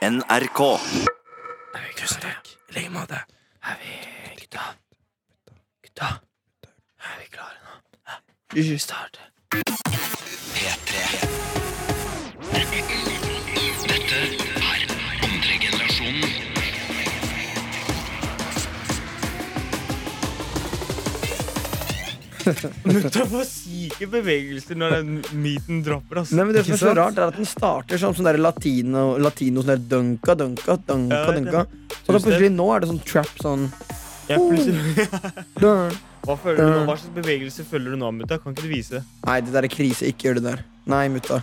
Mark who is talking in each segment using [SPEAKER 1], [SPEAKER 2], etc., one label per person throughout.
[SPEAKER 1] NRK.
[SPEAKER 2] Tusen takk. I like måte. Er vi Gutta. Gutta. Er vi klare nå? Ja. Vi starter.
[SPEAKER 3] Mutta får syke bevegelser når den meaten dropper. ass.
[SPEAKER 2] Nei, men det som
[SPEAKER 4] Ikke
[SPEAKER 2] er så
[SPEAKER 4] sant?
[SPEAKER 2] rart, er at den starter som sånn der latino, latino sånn der dunka, dunka, dunka,
[SPEAKER 3] Ja, det-
[SPEAKER 2] dunka. Så da plutselig nå er det sånn trap, sånn
[SPEAKER 3] Jeg plutselig-
[SPEAKER 2] dun.
[SPEAKER 3] Hva, føler du nå? Hva slags bevegelse følger du nå, mutta? Kan ikke du vise?
[SPEAKER 2] Nei, det der er krise. Ikke gjør det der. Nei, mutta.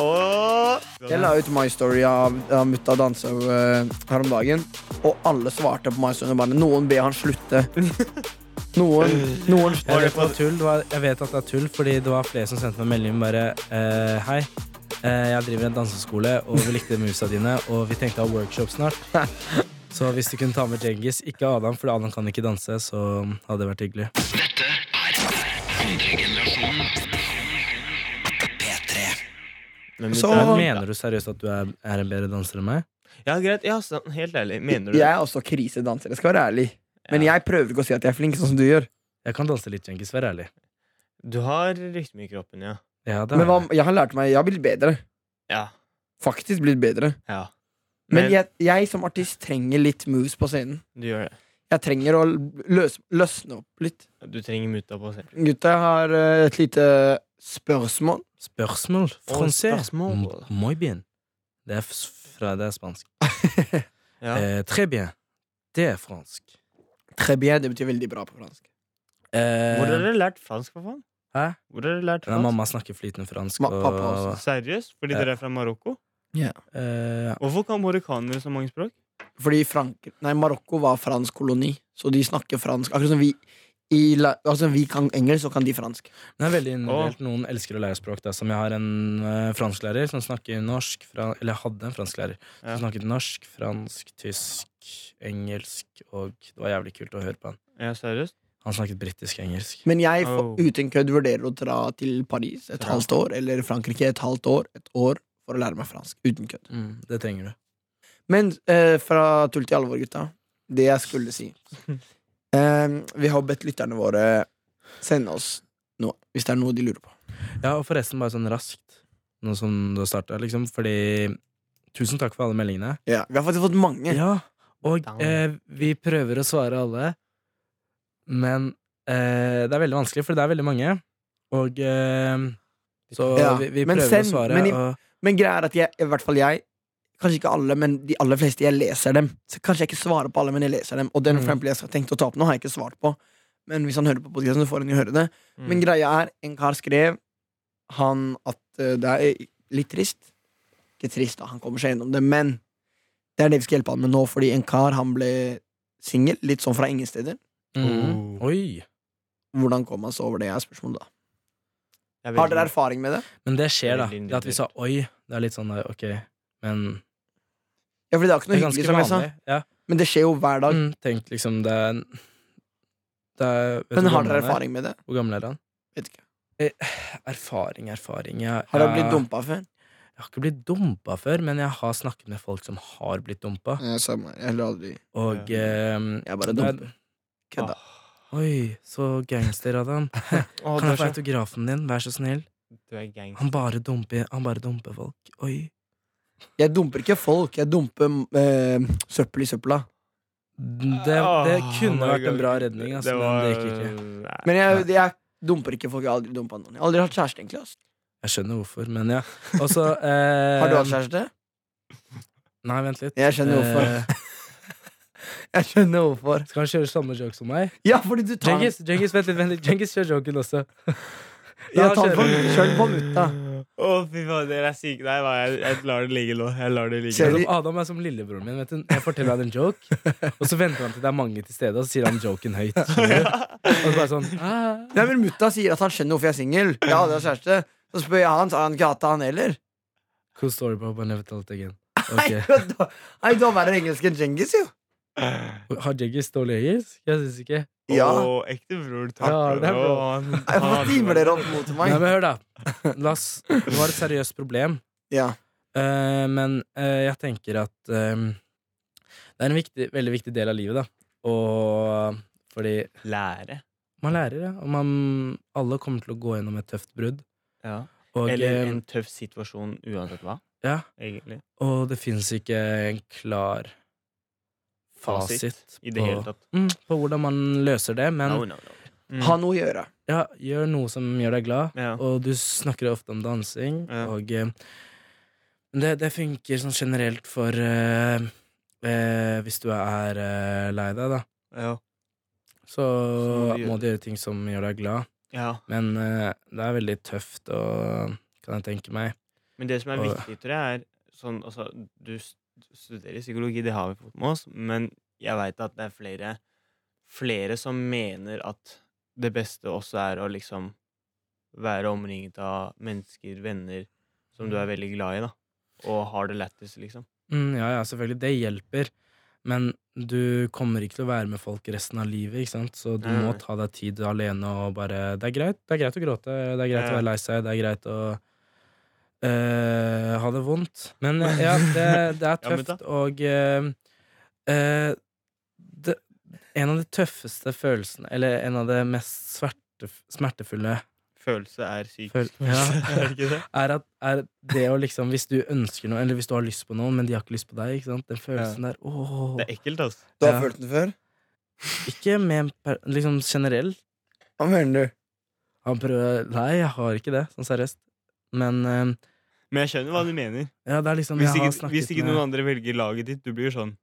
[SPEAKER 3] Åh!
[SPEAKER 2] Jeg la ut My Story av, av mutta danse øh, her om dagen, og alle svarte på My Story. Bare, noen ber han slutte. Noen, noen
[SPEAKER 4] Jeg
[SPEAKER 3] Var det
[SPEAKER 4] vet,
[SPEAKER 3] på-
[SPEAKER 4] at det er tull, det var, jeg vet at det er tull, fordi det var flere som sendte meg melding bare eh, Hei, eh, jeg driver en danseskole, og vi likte musa dine, og vi tenkte å ha workshop snart. Så hvis du kunne ta med Djengis, ikke Adam, for Adam kan ikke danse, så hadde det vært hyggelig.
[SPEAKER 3] Men,
[SPEAKER 2] Så-
[SPEAKER 3] mutta-
[SPEAKER 4] Men Eh, mener du seriøst at du er, er en bedre danser enn meg?
[SPEAKER 3] Ja, greit. Ja, så, helt ærlig. Mener du
[SPEAKER 2] Jeg
[SPEAKER 3] det?
[SPEAKER 2] er også krisedanser. Jeg skal være ærlig. Men jeg prøver ikke å si at jeg er flink, sånn som du gjør.
[SPEAKER 4] Jeg kan danse litt, Djengis, vær ærlig.
[SPEAKER 3] Du har rytme i kroppen, ja.
[SPEAKER 4] Ja, det
[SPEAKER 2] Men hva,
[SPEAKER 4] er jeg.
[SPEAKER 2] jeg har lært meg Jeg har blitt bedre.
[SPEAKER 3] Ja.
[SPEAKER 2] Faktisk blitt bedre.
[SPEAKER 3] ja.
[SPEAKER 2] Men
[SPEAKER 3] Men-
[SPEAKER 2] jeg, jeg som artist trenger litt moves på scenen.
[SPEAKER 3] Du gjør det.
[SPEAKER 2] Jeg trenger å løs, løsne opp litt.
[SPEAKER 3] Du trenger mutta på selv.
[SPEAKER 2] Gutta, jeg har eh, et lite spørsmål.
[SPEAKER 4] Spørsmål? Francais?
[SPEAKER 3] spørsmål.
[SPEAKER 4] Muy bien. Det er, f- fra, det er spansk.
[SPEAKER 3] Ja.
[SPEAKER 4] Eh, très bien. Det er fransk.
[SPEAKER 2] Trebie, det betyr veldig bra på fransk.
[SPEAKER 4] Eh,
[SPEAKER 3] Hvor har dere lært fransk, for faen?
[SPEAKER 4] Hæ?
[SPEAKER 3] Hvor har dere lært
[SPEAKER 4] Nei,
[SPEAKER 3] fransk?
[SPEAKER 4] mamma snakker flytende fransk.
[SPEAKER 2] Ma- pappa også.
[SPEAKER 3] Seriøst? Fordi
[SPEAKER 4] Ja.
[SPEAKER 3] dere er fra Marokko?
[SPEAKER 4] eh,
[SPEAKER 3] Hvorfor kan marokkanere så mange språk?
[SPEAKER 2] Fordi Frank, nei, Marokko var fransk koloni, så de snakker fransk. Akkurat som vi, i, la- altså, vi kan engelsk, så kan de fransk.
[SPEAKER 4] det er veldig individuelt. Noen elsker å lære språk. Da. Som jeg har en eh, fransklærer som snakker norsk fra, Eller jeg hadde en fransklærer som
[SPEAKER 3] Ja.
[SPEAKER 4] snakket norsk, fransk, tysk, engelsk, og det var jævlig kult å høre på han.
[SPEAKER 3] Ja, seriøst?
[SPEAKER 4] Han snakket britisk-engelsk.
[SPEAKER 2] Men jeg for,
[SPEAKER 3] Oh.
[SPEAKER 2] uten kødd vurderer å dra til Paris et
[SPEAKER 3] Ja.
[SPEAKER 2] halvt år, eller Frankrike et halvt år, et år, for å lære meg fransk. Uten kødd.
[SPEAKER 4] Mm, det trenger du.
[SPEAKER 2] Men eh, fra tull til alvor, gutta. Det jeg skulle si. Em, Ehm, vi har bedt lytterne våre sende oss noe, hvis det er noe de lurer på.
[SPEAKER 4] Ja, og forresten, bare sånn raskt, nå som du har starta, liksom, fordi Tusen takk for alle meldingene.
[SPEAKER 2] Ja, vi har faktisk fått mange.
[SPEAKER 4] Ja, og
[SPEAKER 3] Down.
[SPEAKER 4] eh, vi prøver å svare alle, men eh, det er veldig vanskelig, for det er veldig mange. Og eh, så
[SPEAKER 2] Ja,
[SPEAKER 4] vi, vi
[SPEAKER 2] men
[SPEAKER 4] prøver
[SPEAKER 2] send-
[SPEAKER 4] å svare.
[SPEAKER 2] men i-
[SPEAKER 4] og,
[SPEAKER 2] Men greia er at jeg, i hvert fall jeg Kanskje ikke alle, men de aller fleste jeg leser dem. Så Kanskje jeg ikke svarer på alle, men jeg leser dem. Og den
[SPEAKER 4] Mm.
[SPEAKER 2] for eksempel jeg skal tenkte å ta opp nå, har jeg ikke svart på. Men hvis han hører på podcasten, så får han jo høre det.
[SPEAKER 3] Mm.
[SPEAKER 2] Men greia er, en kar skrev han at eh, det er litt trist. Ikke trist, da, han kommer seg gjennom det, men det er det vi skal hjelpe han med nå, fordi en kar han ble singel, litt sånn fra ingen steder.
[SPEAKER 4] mm,
[SPEAKER 3] Oh.
[SPEAKER 4] Oi!
[SPEAKER 2] Hvordan kom han seg over det, er spørsmålet da. Har
[SPEAKER 3] Jeg vet
[SPEAKER 2] dere
[SPEAKER 3] ikke.
[SPEAKER 2] erfaring med det?
[SPEAKER 4] Men det skjer, da.
[SPEAKER 3] Veldig
[SPEAKER 4] Det at vi sa oi, det er litt sånn der, ok, men
[SPEAKER 2] Ja, fordi det er ikke
[SPEAKER 4] Det
[SPEAKER 2] noe
[SPEAKER 4] er
[SPEAKER 2] hyggelig,
[SPEAKER 4] ganske
[SPEAKER 2] som jeg sa,
[SPEAKER 4] vanlig. Ja.
[SPEAKER 2] men det skjer jo hver dag.
[SPEAKER 4] Mm, tenk liksom, det er det er, vet du
[SPEAKER 2] Men har
[SPEAKER 4] hvor gammel
[SPEAKER 2] dere
[SPEAKER 4] han er?
[SPEAKER 2] erfaring med det?
[SPEAKER 4] Hvor gammel er han? Eh,
[SPEAKER 2] Vet ikke.
[SPEAKER 4] Erfaring, erfaring jeg,
[SPEAKER 2] Har dere
[SPEAKER 4] jeg-
[SPEAKER 2] blitt dumpa før?
[SPEAKER 4] Jeg har ikke blitt dumpa før, men jeg har snakket med folk som har blitt dumpa.
[SPEAKER 2] Jeg sa meg, jeg har aldri
[SPEAKER 4] Og
[SPEAKER 3] Ja.
[SPEAKER 4] ehm,
[SPEAKER 2] Jeg bare
[SPEAKER 4] det er-
[SPEAKER 2] dumper. Kødda.
[SPEAKER 4] Oi, så gangster, Adam.
[SPEAKER 3] Åh,
[SPEAKER 4] Kan
[SPEAKER 3] du,
[SPEAKER 4] jeg få
[SPEAKER 3] er så,
[SPEAKER 4] autografen din, vær så snill?
[SPEAKER 3] du er gang.
[SPEAKER 4] Han bare dumper, han bare dumper folk. Oi.
[SPEAKER 2] Jeg dumper ikke folk, jeg dumper eh, søppel i søpla.
[SPEAKER 4] Det, det kunne vært en bra redning, altså, men det gikk ikke.
[SPEAKER 2] Men jeg, jeg dumper ikke folk, jeg har aldri dumpa noen. Jeg har aldri hatt kjæreste, egentlig. ass.
[SPEAKER 4] Jeg skjønner hvorfor, men ja. Og så eh,
[SPEAKER 2] Har du hatt kjæreste?
[SPEAKER 4] ehm, Nei, vent litt.
[SPEAKER 2] Jeg skjønner hvorfor.
[SPEAKER 4] Eh,
[SPEAKER 2] Jeg skjønner hvorfor.
[SPEAKER 4] skal han kjøre samme joke som meg?
[SPEAKER 2] Ja, fordi du tar
[SPEAKER 4] Djengis, Djengis, vent litt, vent litt. Djengis kjører joken også.
[SPEAKER 2] Ja,
[SPEAKER 4] han
[SPEAKER 2] ta den
[SPEAKER 4] kjører.
[SPEAKER 2] på, kjør den på mutta.
[SPEAKER 3] Å, fy faen, dere er syke. Nei, hva, jeg, jeg lar det ligge nå. Jeg lar det ligge.
[SPEAKER 2] Ser
[SPEAKER 4] Som Adam er som lillebroren min. Vet du. Jeg forteller han en joke, og så venter han til det er mange til stede, og så sier han joken høyt. skjønner du? Og så bare sånn ah.
[SPEAKER 2] Nei, men Mutta sier at han skjønner hvorfor jeg er singel. Jeg har aldri hatt kjæreste. Så spør jeg han, så har han ikke hatt det, han heller.
[SPEAKER 4] Cool story, bro, but never tell it again.
[SPEAKER 2] Nei,
[SPEAKER 4] Ok.
[SPEAKER 2] du har- Nei, du har verre engelsk enn Djengis, jo.
[SPEAKER 4] Har Jeggis dårlig engelsk? Jeg syns ikke.
[SPEAKER 2] Ja.
[SPEAKER 3] Å, ekte bror. Takk,
[SPEAKER 4] Ja, det er
[SPEAKER 3] bror.
[SPEAKER 4] bra.
[SPEAKER 3] Å, han-
[SPEAKER 2] Hvorfor
[SPEAKER 3] han-
[SPEAKER 2] timer dere opp mot
[SPEAKER 4] Nei,
[SPEAKER 2] meg?
[SPEAKER 4] men hør, da. La oss, det var et seriøst problem,
[SPEAKER 2] Ja.
[SPEAKER 4] Eh, men eh, jeg tenker at eh, det er en viktig, veldig viktig del av livet, da. Og fordi
[SPEAKER 3] Lære.
[SPEAKER 4] man lærer, ja. Og man, alle kommer til å gå gjennom et tøft brudd.
[SPEAKER 3] Ja.
[SPEAKER 4] Og,
[SPEAKER 3] Eller
[SPEAKER 4] eh,
[SPEAKER 3] en tøff situasjon uansett hva,
[SPEAKER 4] ja,
[SPEAKER 3] egentlig.
[SPEAKER 4] og det fins ikke en klar fasit,
[SPEAKER 3] I det
[SPEAKER 4] på,
[SPEAKER 3] hele tatt.
[SPEAKER 4] Mm, på hvordan man løser det, men
[SPEAKER 3] No, no, no. Mm.
[SPEAKER 2] Ha noe å gjøre.
[SPEAKER 4] ja, gjør noe som gjør deg glad.
[SPEAKER 3] ja.
[SPEAKER 4] Og du snakker ofte om dansing,
[SPEAKER 3] Ja.
[SPEAKER 4] og eh, det, det funker sånn generelt for eh, eh, Hvis du er eh, lei deg, da,
[SPEAKER 3] Ja.
[SPEAKER 4] så
[SPEAKER 3] Så må du
[SPEAKER 4] må
[SPEAKER 3] gjøre-
[SPEAKER 4] du gjøre ting som gjør deg glad.
[SPEAKER 3] ja.
[SPEAKER 4] Men eh, det er veldig tøft, og kan jeg tenke meg.
[SPEAKER 3] Men det som er
[SPEAKER 4] Og-
[SPEAKER 3] viktig, tror jeg, er sånn Altså, du s- studerer psykologi, det har vi fått med oss, men jeg veit at det er flere Flere som mener at det beste også er å liksom være omringet av mennesker, venner, som du er veldig glad i, da. Og har det lættis, liksom.
[SPEAKER 4] Mm, ja, ja, selvfølgelig. Det hjelper. Men du kommer ikke til å være med folk resten av livet, ikke sant? så du
[SPEAKER 3] Nei,
[SPEAKER 4] må
[SPEAKER 3] nei.
[SPEAKER 4] ta deg tid alene og bare Det er greit, det er greit å gråte, det er greit
[SPEAKER 3] Ja.
[SPEAKER 4] å være lei seg, det er greit å eh, ha det vondt. Men eh, ja, det, det er
[SPEAKER 3] Ja, men
[SPEAKER 4] tøft, og eh, eh, det, En av de tøffeste følelsene, eller en av det mest sverte, smertefulle
[SPEAKER 3] Følelse er syk.
[SPEAKER 4] Føl- Ja.
[SPEAKER 3] er det ikke det?
[SPEAKER 4] er at er det å liksom Hvis du ønsker noe, eller hvis du har lyst på noe, men de har ikke lyst på deg, ikke sant? den følelsen der åh.
[SPEAKER 3] Det er ekkelt, altså.
[SPEAKER 2] Du har
[SPEAKER 4] Ja.
[SPEAKER 2] følt den før?
[SPEAKER 4] Ikke med en per liksom generell.
[SPEAKER 2] Hva mener du?
[SPEAKER 4] Han prøver Nei, jeg har ikke det, sånn seriøst. Men eh,
[SPEAKER 3] Men jeg skjønner hva du mener.
[SPEAKER 4] ja, det er liksom
[SPEAKER 3] Hvis
[SPEAKER 4] jeg har
[SPEAKER 3] ikke,
[SPEAKER 4] snakket
[SPEAKER 3] hvis ikke
[SPEAKER 4] med
[SPEAKER 3] noen andre velger laget ditt, du blir sånn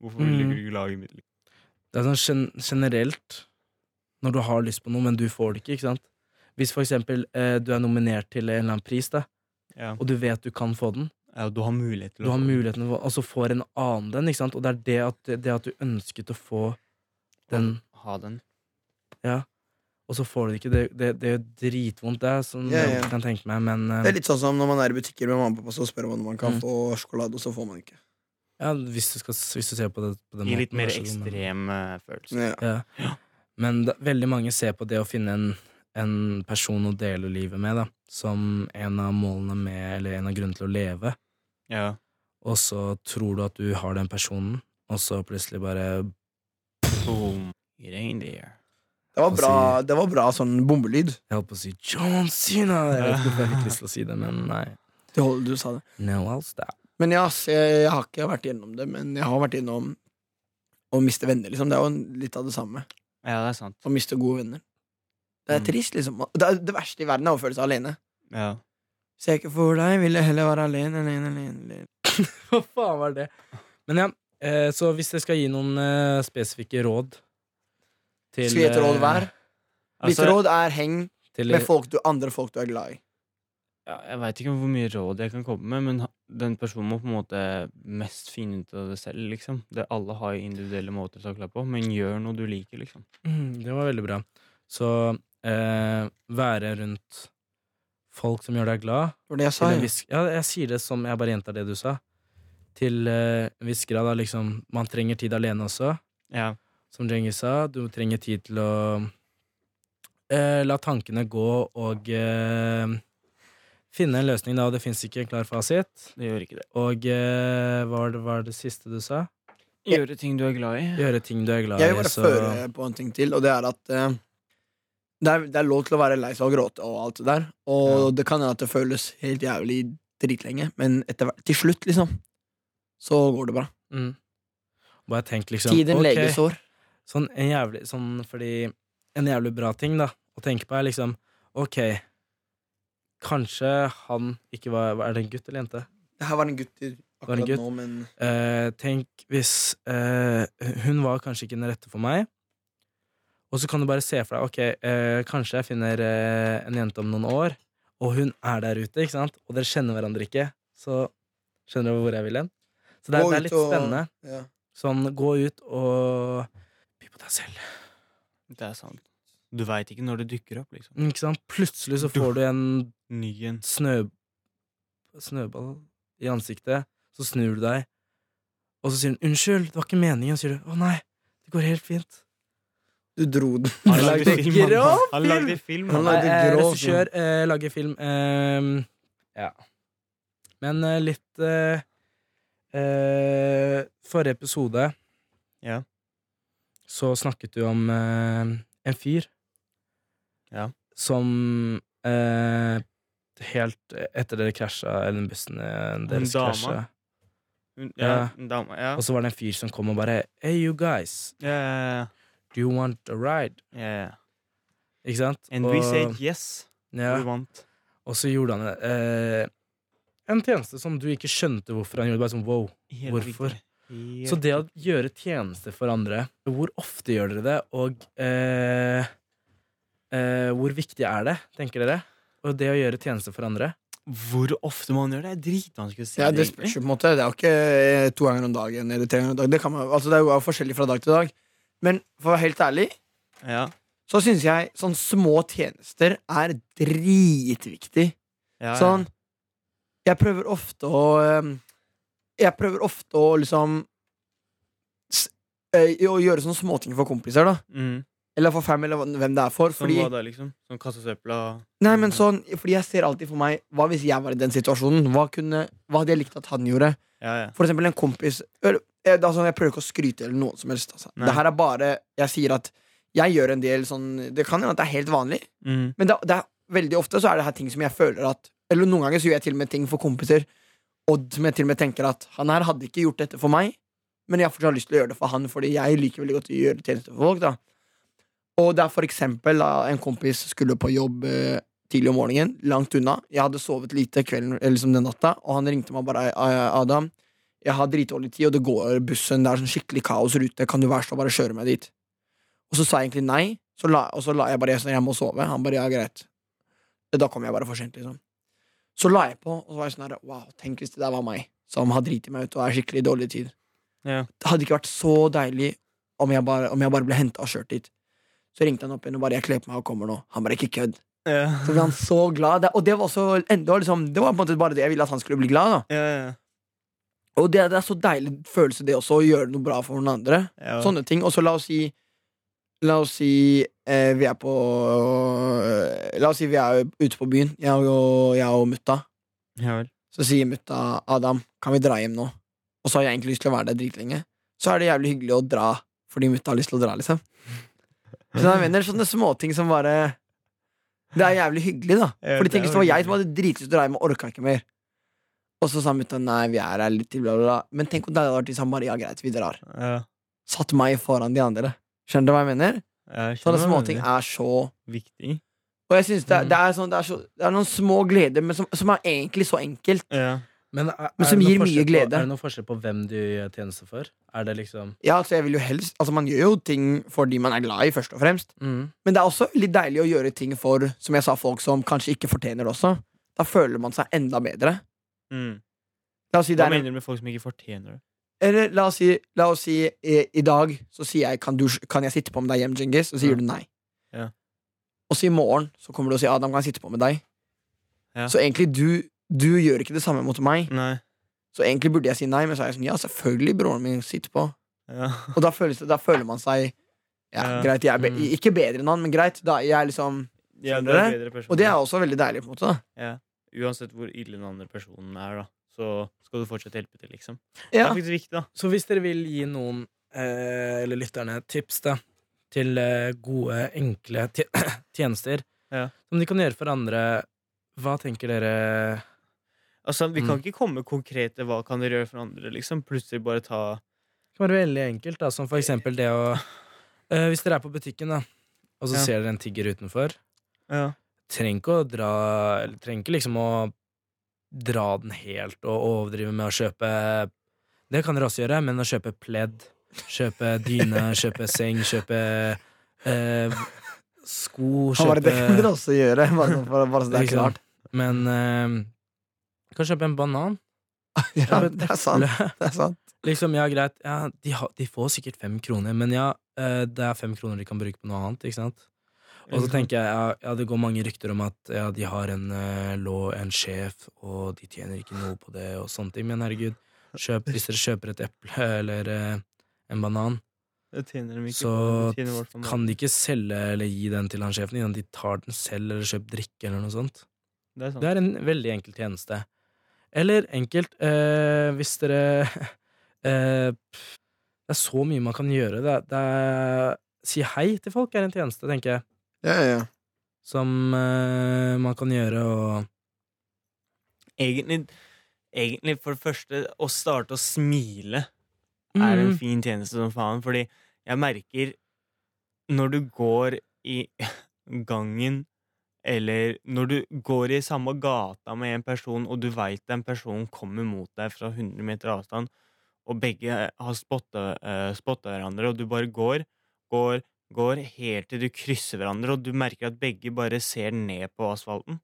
[SPEAKER 3] Hvorfor vil du
[SPEAKER 4] Mm.
[SPEAKER 3] ikke laget mitt?
[SPEAKER 4] Det er sånn gen generelt når du har lyst på noe, men du får det ikke, ikke sant? Hvis for eksempel eh, du er nominert til en eller annen pris, da,
[SPEAKER 3] Ja.
[SPEAKER 4] og du vet du kan få den,
[SPEAKER 3] ja, du har mulighet til
[SPEAKER 4] du har
[SPEAKER 3] få det.
[SPEAKER 4] muligheten til å få og så får en annen den, ikke sant? Og det er det at, det at du ønsket å få den,
[SPEAKER 3] Ha den.
[SPEAKER 4] og så får du det ikke. Det, det, det er jo dritvondt, det, er som
[SPEAKER 2] Ja, ja.
[SPEAKER 4] jeg ikke kan tenke meg, men eh,
[SPEAKER 2] Det er litt sånn som når man er i butikker med mamma og pappa, så spør man om man kan
[SPEAKER 4] Mm.
[SPEAKER 2] få sjokolade, og så får man ikke.
[SPEAKER 4] ja, hvis, du skal, hvis du ser på det på den
[SPEAKER 3] I litt mer
[SPEAKER 4] vær så god, men-
[SPEAKER 3] ekstrem eh, følelse.
[SPEAKER 2] Ja.
[SPEAKER 4] Men da, veldig mange ser på det å finne en, en person å dele livet med, da, som en av målene med, eller en av grunnene til å leve.
[SPEAKER 3] Ja.
[SPEAKER 4] Og så tror du at du har den personen, og så plutselig bare
[SPEAKER 3] Boom. Reindeer.
[SPEAKER 2] Det var bra, det var bra sånn bombelyd.
[SPEAKER 4] Jeg holdt på å si John Cena! Jeg vet ikke hvorfor jeg fikk lyst til å si det, men nei.
[SPEAKER 2] Du, hold- du sa det.
[SPEAKER 4] No else that.
[SPEAKER 2] Men ja, ass, jeg, jeg har ikke vært igjennom det, men jeg har vært igjennom å miste venner, liksom. Det er jo litt av det samme.
[SPEAKER 3] Ja, det er sant.
[SPEAKER 2] Å miste gode venner. Det er
[SPEAKER 3] Mm.
[SPEAKER 2] trist, liksom. Det, er, det verste i verden er å føle seg alene.
[SPEAKER 3] Ja.
[SPEAKER 2] Hvis jeg ikke får deg, vil jeg heller være alene, alene, alene. alene.
[SPEAKER 4] Hva faen var det? Men ja, eh, så hvis jeg skal gi noen eh, spesifikke råd til
[SPEAKER 2] Skal vi gi et råd
[SPEAKER 4] eh,
[SPEAKER 2] hver? Mitt
[SPEAKER 3] Altså,
[SPEAKER 2] råd er heng
[SPEAKER 4] Til,
[SPEAKER 2] med folk du, andre folk du er glad i.
[SPEAKER 3] ja, jeg veit ikke hvor mye råd jeg kan komme med, men ha- den personen må på en måte mest finne ut av det selv, liksom. Det alle har individuelle måter å takle på, men gjør noe du liker, liksom.
[SPEAKER 4] Mm, Det var veldig bra. Så eh, være rundt folk som gjør deg glad
[SPEAKER 2] Det var det jeg sa.
[SPEAKER 4] til en
[SPEAKER 2] ja.
[SPEAKER 4] viss, Ja, jeg sier det som jeg bare gjentar det du sa. Til eh, en viss grad da, liksom Man trenger tid alene også,
[SPEAKER 3] Ja.
[SPEAKER 4] som Djengis sa. Du trenger tid til å eh, la tankene gå og eh, finne en løsning, da. Og det fins ikke en klar fasit.
[SPEAKER 3] Det gjør ikke det.
[SPEAKER 4] Og eh, hva var det, hva var det siste du sa?
[SPEAKER 3] Gjøre ting du er glad i.
[SPEAKER 4] Gjøre ting du er glad
[SPEAKER 2] Jeg eh.
[SPEAKER 4] i.
[SPEAKER 2] vil bare
[SPEAKER 4] så-
[SPEAKER 2] føre på en ting til, og det er at eh, det, er, det er lov til å være lei seg og gråte og alt det der, og
[SPEAKER 3] Ja.
[SPEAKER 2] det kan hende at det føles helt jævlig dritlenge, men etter hvert, til slutt, liksom, så går det bra.
[SPEAKER 4] Mm. Bare tenk liksom
[SPEAKER 2] Tiden
[SPEAKER 4] ok,
[SPEAKER 2] leger sår.
[SPEAKER 4] Sånn en jævlig sånn, Fordi en jævlig bra ting da å tenke på er liksom Ok, kanskje han ikke var Er det en gutt eller jente?
[SPEAKER 2] Det her var en gutt i-
[SPEAKER 4] var en
[SPEAKER 2] akkurat
[SPEAKER 4] gutt.
[SPEAKER 2] nå, men
[SPEAKER 4] Eh, tenk hvis eh, Hun var kanskje ikke den rette for meg. Og så kan du bare se for deg Ok, eh, kanskje jeg finner eh, en jente om noen år, og hun er der ute, ikke sant? og dere kjenner hverandre ikke. Så skjønner du hvor jeg vil hen? Så det er,
[SPEAKER 2] Gå
[SPEAKER 4] det er
[SPEAKER 2] ut
[SPEAKER 4] litt
[SPEAKER 2] og-
[SPEAKER 4] spennende.
[SPEAKER 2] ja.
[SPEAKER 4] Sånn, gå ut og by på deg selv.
[SPEAKER 3] Det er sant. Du veit ikke når det dukker opp, liksom.
[SPEAKER 4] Ikke sant? Plutselig så får du en
[SPEAKER 3] Ny en.
[SPEAKER 4] snø, snøball i ansiktet, så snur du deg, og så sier hun 'unnskyld, det var ikke meningen', og så sier du 'å nei, det går helt fint'.
[SPEAKER 2] Du dro den.
[SPEAKER 3] Han lagde
[SPEAKER 4] lagde
[SPEAKER 3] film! Han,
[SPEAKER 4] grå
[SPEAKER 3] han lagde film!
[SPEAKER 2] Han
[SPEAKER 3] han.
[SPEAKER 2] lagde
[SPEAKER 4] Nei, Mm. eh,
[SPEAKER 2] grå
[SPEAKER 4] Regissør, eh, lager film eh, Ja. Men eh, litt eh, eh, Forrige episode
[SPEAKER 3] Ja.
[SPEAKER 4] så snakket du om eh, en fyr
[SPEAKER 3] Ja.
[SPEAKER 4] som eh, Helt etter dere krasja, eller bussen eh, deres
[SPEAKER 3] dama?
[SPEAKER 4] krasja
[SPEAKER 3] Hun-
[SPEAKER 4] Ja.
[SPEAKER 3] Ja, en dame. Ja.
[SPEAKER 4] Og så var det en fyr som kom og bare Hey, you guys,
[SPEAKER 3] Ja, ja,
[SPEAKER 4] do you want a ride?
[SPEAKER 3] ja, ja, ja.
[SPEAKER 4] Ikke sant?
[SPEAKER 3] And
[SPEAKER 4] og,
[SPEAKER 3] we said yes.
[SPEAKER 4] ja,
[SPEAKER 3] We want.
[SPEAKER 4] og så gjorde han eh, en tjeneste som du ikke skjønte hvorfor han gjorde. Bare sånn, wow
[SPEAKER 3] Helt
[SPEAKER 4] Hvorfor?
[SPEAKER 3] riktig. Helt
[SPEAKER 4] Så det å gjøre tjenester for andre, hvor ofte gjør dere det, og eh, eh, hvor viktig er det, tenker dere? Og det å gjøre tjenester for andre?
[SPEAKER 3] Hvor ofte man gjør det, er dritvanskelig å si.
[SPEAKER 2] Ja, det
[SPEAKER 3] egentlig.
[SPEAKER 2] spørs jo på en måte. Det er jo ikke eh, to ganger om dagen eller tre ganger om dagen. Det, kan man, altså, det er jo forskjellig fra dag til dag. Men for å være helt ærlig
[SPEAKER 3] Ja,
[SPEAKER 2] så syns jeg sånn små tjenester er dritviktig.
[SPEAKER 3] ja, ja.
[SPEAKER 2] Sånn Jeg prøver ofte å øhm, Jeg prøver ofte å liksom s- øh, Å gjøre sånne småting for kompiser, da.
[SPEAKER 3] Mm.
[SPEAKER 2] Eller for fam, eller hva- hvem det er for.
[SPEAKER 3] Sånn
[SPEAKER 2] Fordi,
[SPEAKER 3] hva da, liksom? Sånn kaste søpla og
[SPEAKER 2] nei, men sånn, fordi jeg ser alltid for meg Hva hvis jeg var i den situasjonen? Hva, kunne, hva hadde jeg likt at han gjorde?
[SPEAKER 3] Ja, ja.
[SPEAKER 2] For eksempel en kompis eller, eh, altså, Jeg prøver ikke å skryte eller noen som helst. Altså.
[SPEAKER 3] Nei.
[SPEAKER 2] Det her er bare Jeg sier at jeg gjør en del sånn Det kan hende at det er helt vanlig.
[SPEAKER 3] Mm.
[SPEAKER 2] Men det, det er, veldig ofte så er det her ting som jeg føler at Eller noen ganger så gjør jeg til og med ting for kompiser Og som jeg til og med tenker at Han her hadde ikke gjort dette for meg Men jeg har fortsatt lyst til å gjøre det for han Fordi jeg liker veldig godt å gjøre tjenester for folk da Og det er for eksempel da, En kompis skulle på jobb eh, tidlig om morgenen Langt unna Jeg hadde sovet lite kvelden, eller liksom den natta Og han ringte meg bare «Ai, Adam jeg har dritdårlig tid, og det går bussen Det er sånn skikkelig kaos rute, kan du være så bare kjøre meg dit og så sa jeg egentlig nei, så la, og så la jeg bare jeg, sa, jeg må sove. Han bare ja, greit. Da kom jeg bare for sent, liksom. Så la jeg på, og så var jeg sånn her wow, tenk hvis det der var meg, som har driti meg ut og er skikkelig i dårlig tid.
[SPEAKER 3] Ja.
[SPEAKER 2] Det hadde ikke vært så deilig om jeg bare, om jeg bare ble henta og kjørt dit. Så ringte han opp igjen og bare jeg kler på meg og kommer nå. Han bare ikke kødd.
[SPEAKER 3] Ja.
[SPEAKER 2] Så ble han så glad. Det- Og det var også enda liksom, det var på en måte bare det jeg ville at han skulle bli glad. da
[SPEAKER 3] Ja, ja.
[SPEAKER 2] Og det, det er så deilig følelse, det også, å gjøre noe bra for noen andre.
[SPEAKER 3] ja.
[SPEAKER 2] Sånne ting. Og så la oss si La oss si eh, vi er på eh, La oss si vi er ute på byen, jeg og, jeg og mutta.
[SPEAKER 3] Ja vel.
[SPEAKER 2] Så sier mutta 'Adam, kan vi dra hjem nå?' Og så har jeg egentlig lyst til å være der dritlenge. Så er det jævlig hyggelig å dra fordi mutta har lyst til å dra, liksom. Så jeg mener sånne småting som bare Det er jævlig hyggelig, da. Fordi
[SPEAKER 3] Ja, det er
[SPEAKER 2] tenk hvis det var sånn,
[SPEAKER 3] veldig
[SPEAKER 2] jeg som hadde dritlyst til å dra hjem og orka ikke mer. Og så sa mutta 'nei, vi er her litt til', bla, bla, bla. Men tenk om det hadde vært liksom bare 'ja, greit, vi drar'
[SPEAKER 3] Ja.
[SPEAKER 2] satt meg foran de andre. Skjønner du hva jeg mener?
[SPEAKER 3] Jeg
[SPEAKER 2] Sånne
[SPEAKER 3] skjønner hva du
[SPEAKER 2] småting
[SPEAKER 3] mener.
[SPEAKER 2] er så
[SPEAKER 3] Viktig.
[SPEAKER 2] Og jeg synes det, er-
[SPEAKER 3] Mm.
[SPEAKER 2] det, er sånn, det, er så, det er noen små gleder, men som, som er egentlig så enkelt.
[SPEAKER 3] Ja.
[SPEAKER 4] Men, er,
[SPEAKER 2] Men
[SPEAKER 4] er
[SPEAKER 2] som
[SPEAKER 4] det noe
[SPEAKER 2] gir mye
[SPEAKER 4] forskjell
[SPEAKER 2] glede.
[SPEAKER 4] På, er det noen forskjell på hvem du gjør tjeneste for? Er det liksom
[SPEAKER 2] Ja, altså jeg vil jo helst Altså Man gjør jo ting for de man er glad i, først og fremst.
[SPEAKER 4] Mm.
[SPEAKER 2] Men det er også litt deilig å gjøre ting for Som jeg sa, folk som kanskje ikke fortjener det også. Da føler man seg enda bedre.
[SPEAKER 3] Mm.
[SPEAKER 2] La oss si, det
[SPEAKER 3] Hva
[SPEAKER 2] er, en-
[SPEAKER 3] mener du med folk som ikke fortjener det?
[SPEAKER 2] eller, la oss si, la oss si i, i dag så sier jeg kan, du, kan jeg sitte på med deg hjem, Djengis? Og så sier
[SPEAKER 3] Ja.
[SPEAKER 2] du nei.
[SPEAKER 3] Ja.
[SPEAKER 2] Og så i morgen så kommer du og sier Adam, kan jeg sitte på med deg?
[SPEAKER 3] Ja.
[SPEAKER 2] Så egentlig du, du gjør ikke det samme mot meg.
[SPEAKER 3] Nei.
[SPEAKER 2] Så egentlig burde jeg si nei, men så er jeg sånn, ja, selvfølgelig, broren min sitter på.
[SPEAKER 3] Ja.
[SPEAKER 2] Og da, føles det, da føler man seg ja,
[SPEAKER 3] Ja.
[SPEAKER 2] greit, jeg er be
[SPEAKER 4] Mm.
[SPEAKER 2] ikke bedre enn han, men greit. Da, er jeg er liksom,
[SPEAKER 3] ja
[SPEAKER 2] Skjønner
[SPEAKER 3] det er
[SPEAKER 2] du?
[SPEAKER 3] bedre personer.
[SPEAKER 2] og det er også veldig deilig, på en måte. Da.
[SPEAKER 3] Uansett hvor ille den andre personen er, da, så skal du fortsatt hjelpe til, liksom. Det
[SPEAKER 2] Ja.
[SPEAKER 3] er faktisk viktig, da.
[SPEAKER 4] Så hvis dere vil gi noen, eh, eller lytterne, tips da, til eh, gode, enkle tje- tjenester
[SPEAKER 3] Ja.
[SPEAKER 4] som de kan gjøre for andre, hva tenker dere
[SPEAKER 3] Altså, Vi
[SPEAKER 4] Mm.
[SPEAKER 3] kan ikke komme konkrete hva kan dere gjøre for andre. liksom Plutselig bare ta
[SPEAKER 4] Det kan være veldig enkelt, da, som for eksempel det å eh, Hvis dere er på butikken, da, og så
[SPEAKER 3] Ja.
[SPEAKER 4] ser dere en tigger utenfor,
[SPEAKER 3] Ja,
[SPEAKER 4] trenger ikke å dra Eller trenger ikke liksom å dra den helt og overdrive med å kjøpe Det kan dere også gjøre, men å kjøpe pledd, kjøpe dyne, kjøpe seng, kjøpe eh, sko,
[SPEAKER 2] Han bare, det kan dere
[SPEAKER 4] kjøpe
[SPEAKER 2] også gjøre. Bare, sånn bare, bare så det er
[SPEAKER 4] Liksom.
[SPEAKER 2] klart.
[SPEAKER 4] Men eh, du kan kjøpe en banan.
[SPEAKER 2] Ja,
[SPEAKER 4] Kjøpe et
[SPEAKER 2] det er sant.
[SPEAKER 4] eple.
[SPEAKER 2] Det er sant.
[SPEAKER 4] Liksom, ja, greit. Ja, de, har- de får sikkert fem kroner, men ja, eh, det er fem kroner de kan bruke på noe annet, ikke sant? Og så tenker jeg, ja, ja, det går mange rykter om at ja, de har en eh, lå, en sjef, og de tjener ikke noe på det, og sånne ting, men herregud, kjøp, hvis dere kjøper et eple eller eh, en banan,
[SPEAKER 3] Det tjener dem ikke
[SPEAKER 4] så
[SPEAKER 3] på, det tjener i hvert fall meg.
[SPEAKER 4] kan de ikke selge eller gi den til han sjefen innan de tar den selv, eller kjøper drikke eller noe sånt.
[SPEAKER 3] Det er sant.
[SPEAKER 4] Det er en veldig enkel tjeneste. Eller enkelt, eh, hvis dere eh, pff, Det er så mye man kan gjøre. Det, er- det er, si hei til folk er en tjeneste, tenker jeg,
[SPEAKER 2] Ja, ja, ja.
[SPEAKER 4] som eh, man kan gjøre og
[SPEAKER 3] Egentlig, egentlig, for det første, å starte å smile er en
[SPEAKER 4] Mm.
[SPEAKER 3] fin tjeneste som faen. Fordi jeg merker når du går i gangen, eller når du går i samme gata med en person, og du veit den personen kommer mot deg fra 100 meter avstand, og begge har spotta eh, spotta hverandre, og du bare går, går, går, helt til du krysser hverandre, og du merker at begge bare ser ned på asfalten.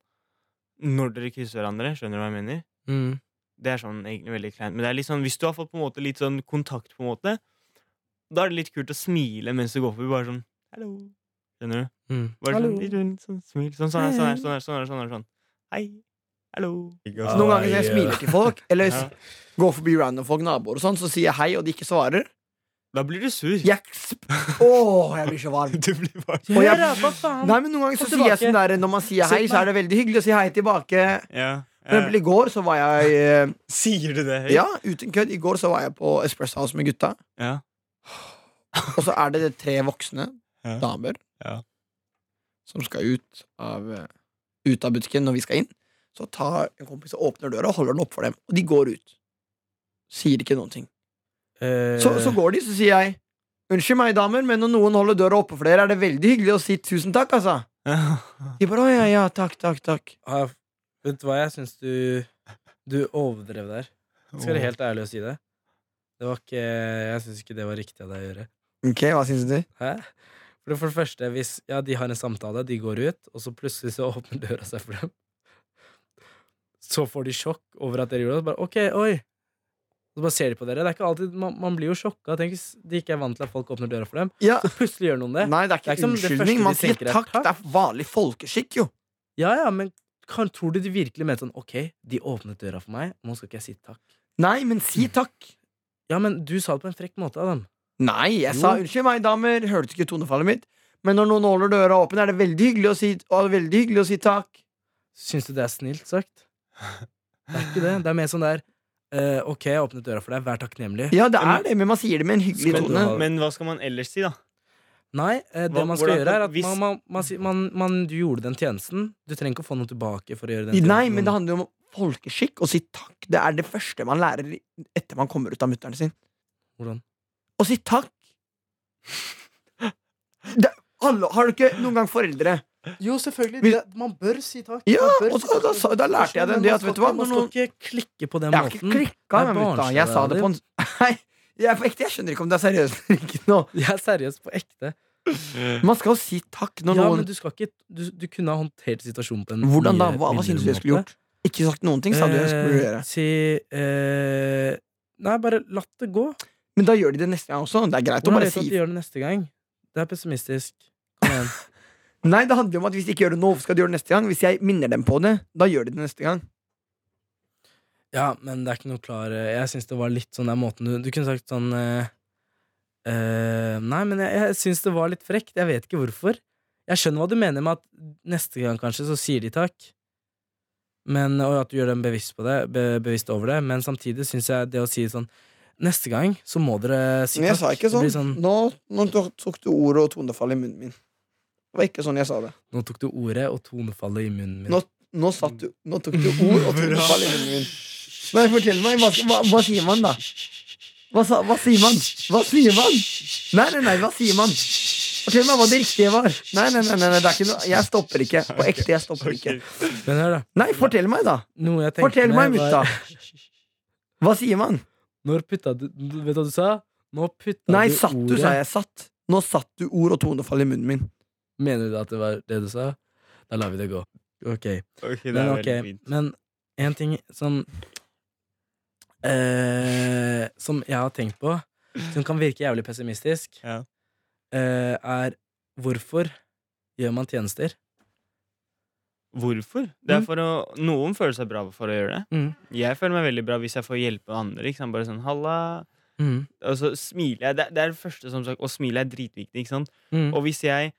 [SPEAKER 3] Når dere krysser hverandre, skjønner du hva jeg mener?
[SPEAKER 4] Mm.
[SPEAKER 3] Det er sånn egentlig veldig kleint. Men det er litt sånn, hvis du har fått på en måte litt sånn kontakt, på en måte, da er det litt kult å smile mens du går forbi. Bare sånn Hallo. Skjønner du?
[SPEAKER 4] Mm.
[SPEAKER 3] Bare
[SPEAKER 2] Hallo.
[SPEAKER 3] sånn, litt rundt, sånn smil. Sånn, sånn, her, sånn, her, sånn, her, sånn, her, sånn, her, sånn. Hei. Hallo.
[SPEAKER 2] Så noen ganger når jeg
[SPEAKER 4] Ai,
[SPEAKER 2] smiler til folk, eller
[SPEAKER 3] Ja.
[SPEAKER 2] går forbi random folk, naboer og sånn, så sier jeg hei, og de ikke svarer.
[SPEAKER 3] Da blir du sur.
[SPEAKER 2] Jeg sp- Åh, jeg blir så varm.
[SPEAKER 3] Du blir bare sånn.
[SPEAKER 2] Og jeg-
[SPEAKER 4] Gjør det, hva faen?
[SPEAKER 2] Nei, men Noen ganger så
[SPEAKER 4] Kom
[SPEAKER 2] sier jeg
[SPEAKER 4] tilbake.
[SPEAKER 2] sånn der når man sier hei, så er det veldig hyggelig å si hei tilbake.
[SPEAKER 3] Ja.
[SPEAKER 2] For eksempel i går så var jeg eh,
[SPEAKER 3] Sier du det høyt?
[SPEAKER 2] Ja, uten kødd. I går så var jeg på Espresso House med gutta.
[SPEAKER 3] Ja.
[SPEAKER 2] Og så er det det tre voksne
[SPEAKER 3] Ja.
[SPEAKER 2] damer
[SPEAKER 3] Ja.
[SPEAKER 2] som skal ut av, eh, ut av butikken når vi skal inn. Så tar en kompis og åpner døra og holder den opp for dem. Og de går ut. Sier ikke noen ting.
[SPEAKER 4] Eh,
[SPEAKER 2] Så, så går de, så sier jeg Unnskyld meg, damer, men når noen holder døra oppe for dere, er det veldig hyggelig å si tusen takk, altså. De bare, å ja, ja, takk, takk, takk.
[SPEAKER 4] har jeg- Vet du hva, jeg syns du Du overdrev der. Skal være helt ærlig å si det. Det var ikke Jeg syns ikke det var riktig av deg å gjøre.
[SPEAKER 2] Ok, hva syns du?
[SPEAKER 4] Hæ? For det, for det første, hvis ja, de har en samtale, de går ut, og så plutselig så åpner døra seg for dem. Så får de sjokk over at dere gjorde det. og Bare, ok, oi Så bare ser de på dere. Det er ikke alltid, man, man blir jo sjokka. Tenk hvis de ikke er vant til at folk åpner døra for dem.
[SPEAKER 2] Ja,
[SPEAKER 4] Plutselig gjør noen det.
[SPEAKER 2] Nei, det er
[SPEAKER 4] Det
[SPEAKER 2] ikke
[SPEAKER 4] er ikke som det første
[SPEAKER 2] unnskyldning.
[SPEAKER 4] de
[SPEAKER 2] Man sier
[SPEAKER 4] tenker er
[SPEAKER 2] takk.
[SPEAKER 4] takk.
[SPEAKER 2] Det er vanlig folkeskikk, jo.
[SPEAKER 4] Ja, ja, men kan, tror du de virkelig mente sånn Ok, de åpnet døra for meg, nå skal ikke jeg si takk.
[SPEAKER 2] Nei, men si takk.
[SPEAKER 4] Ja, men du sa det på en frekk måte, Adam.
[SPEAKER 2] Nei, jeg sa
[SPEAKER 4] Jo.
[SPEAKER 2] unnskyld meg, damer. Hørte du ikke tonefallet mitt? Men når noen holder døra åpen, er det veldig hyggelig å si, å, veldig hyggelig å si takk.
[SPEAKER 4] Syns du det er snilt sagt? Det er ikke det. Det er mer sånn der eh, Ok, jeg åpnet døra for deg, vær takknemlig.
[SPEAKER 2] Ja, det
[SPEAKER 3] Men-
[SPEAKER 2] er det, men man sier det med en hyggelig
[SPEAKER 4] Skal du
[SPEAKER 2] tone.
[SPEAKER 4] ha-
[SPEAKER 3] Men hva skal man ellers si, da?
[SPEAKER 4] Nei, eh, det
[SPEAKER 3] Hva-
[SPEAKER 4] man skal
[SPEAKER 3] hvordan-
[SPEAKER 4] gjøre, er at
[SPEAKER 3] hvis-
[SPEAKER 4] man, man, man, sier- man, man, du gjorde den tjenesten. Du trenger ikke å få noe tilbake for å gjøre den tjenesten.
[SPEAKER 2] Nei, men det handler jo om folkeskikk. Å si takk. Det er det første man lærer etter man kommer ut av mutter'n sin.
[SPEAKER 4] Hvordan?
[SPEAKER 2] og si takk. Det, alle, har du ikke noen gang foreldre?
[SPEAKER 1] Jo, selvfølgelig.
[SPEAKER 2] Hvis-
[SPEAKER 1] det- man bør si takk.
[SPEAKER 2] Ja,
[SPEAKER 1] Man bør si
[SPEAKER 2] og da,
[SPEAKER 1] takk.
[SPEAKER 2] da, sa- da lærte jeg dem det. At, vet du hva,
[SPEAKER 4] Man
[SPEAKER 2] når
[SPEAKER 4] skal
[SPEAKER 2] noen,
[SPEAKER 4] ikke klikke på den
[SPEAKER 2] jeg har ikke
[SPEAKER 4] måten.
[SPEAKER 2] klikka
[SPEAKER 4] Det er
[SPEAKER 2] med mutta. Jeg sa det på en Nei, jeg er på ekte. Jeg skjønner ikke om det er seriøst eller ikke nå.
[SPEAKER 4] Jeg er seriøst på ekte.
[SPEAKER 2] Man skal jo si takk når
[SPEAKER 4] ja, men
[SPEAKER 2] noen
[SPEAKER 4] du, skal ikke, du, du kunne ha håndtert situasjonen på en
[SPEAKER 2] Hvordan da?
[SPEAKER 4] mye
[SPEAKER 2] Hva, hva
[SPEAKER 4] mildere
[SPEAKER 2] synes du jeg skulle
[SPEAKER 4] måte.
[SPEAKER 2] gjort? Ikke sagt noen ting, sa du. Jeg skulle
[SPEAKER 4] Eh,
[SPEAKER 2] gjøre
[SPEAKER 4] Si eh, Nei, bare latt det gå.
[SPEAKER 2] Men da gjør de det neste gang også. Det er greit å
[SPEAKER 4] Hvordan
[SPEAKER 2] bare
[SPEAKER 4] vet du
[SPEAKER 2] si
[SPEAKER 4] at de gjør det neste gang? Det er pessimistisk. Kom igjen.
[SPEAKER 2] Nei, det handler jo om at hvis de ikke gjør det nå, hvorfor skal de gjøre det neste gang? Hvis jeg minner dem på det, da gjør de det neste gang.
[SPEAKER 4] Ja, men det er ikke noe klar Jeg syns det var litt sånn den måten du Du kunne sagt sånn eh, eh, Nei, men jeg, jeg syns det var litt frekt. Jeg vet ikke hvorfor. Jeg skjønner hva du mener med at neste gang kanskje så sier de takk, men, og at du gjør dem bevisst, på det, be, bevisst over det, men samtidig syns jeg det å si sånn Neste gang så må dere si takk.
[SPEAKER 2] Men jeg sa ikke
[SPEAKER 4] Det
[SPEAKER 2] sånn.
[SPEAKER 4] blir sånn
[SPEAKER 2] Nå, nå tok du ordet og tonefallet i munnen min. Det var ikke sånn jeg sa det.
[SPEAKER 4] Nå tok du ordet og tonefallet i munnen min.
[SPEAKER 2] Nå, nå, satt du, nå tok du ord og tonefall i munnen min. Men fortell meg, hva, hva, hva sier man da? Hva, sa, hva sier man? Hva sier man? Nei, nei, nei, hva sier man? Fortell meg hva det riktige var. Nei, nei, nei, nei, nei det er ikke noe Jeg stopper ikke. På ekte, jeg stopper ikke.
[SPEAKER 4] Men hør, da.
[SPEAKER 2] Nei, fortell meg, da.
[SPEAKER 4] Noe jeg tenkte
[SPEAKER 2] Fortell meg,
[SPEAKER 4] med var-
[SPEAKER 2] mutta. Hva sier man?
[SPEAKER 4] Når putta du Vet du hva du sa? Nå putta
[SPEAKER 2] Nei,
[SPEAKER 4] du
[SPEAKER 2] satt du,
[SPEAKER 4] ordet
[SPEAKER 2] sa jeg. Satt. Nå satt du ord og tonefall i munnen min.
[SPEAKER 4] Mener du at det var det du sa? Da lar vi det gå. Ok.
[SPEAKER 3] Ok, det
[SPEAKER 4] Men
[SPEAKER 3] er
[SPEAKER 4] ok,
[SPEAKER 3] veldig fint.
[SPEAKER 4] men en ting som eh, Som jeg har tenkt på, som kan virke jævlig pessimistisk,
[SPEAKER 3] Ja.
[SPEAKER 4] eh, er hvorfor gjør man tjenester?
[SPEAKER 3] Hvorfor? Det er
[SPEAKER 4] Mm.
[SPEAKER 3] for å, noen føler seg bra for å gjøre det.
[SPEAKER 4] Mm.
[SPEAKER 3] Jeg føler meg veldig bra hvis jeg får hjelpe andre. Ikke sant? Bare sånn, halla
[SPEAKER 4] Mm.
[SPEAKER 3] Og så smiler jeg. Det, det Altså, er det første som sagt. Å smile er dritviktig. Ikke sant?
[SPEAKER 4] Mm.
[SPEAKER 3] Og hvis jeg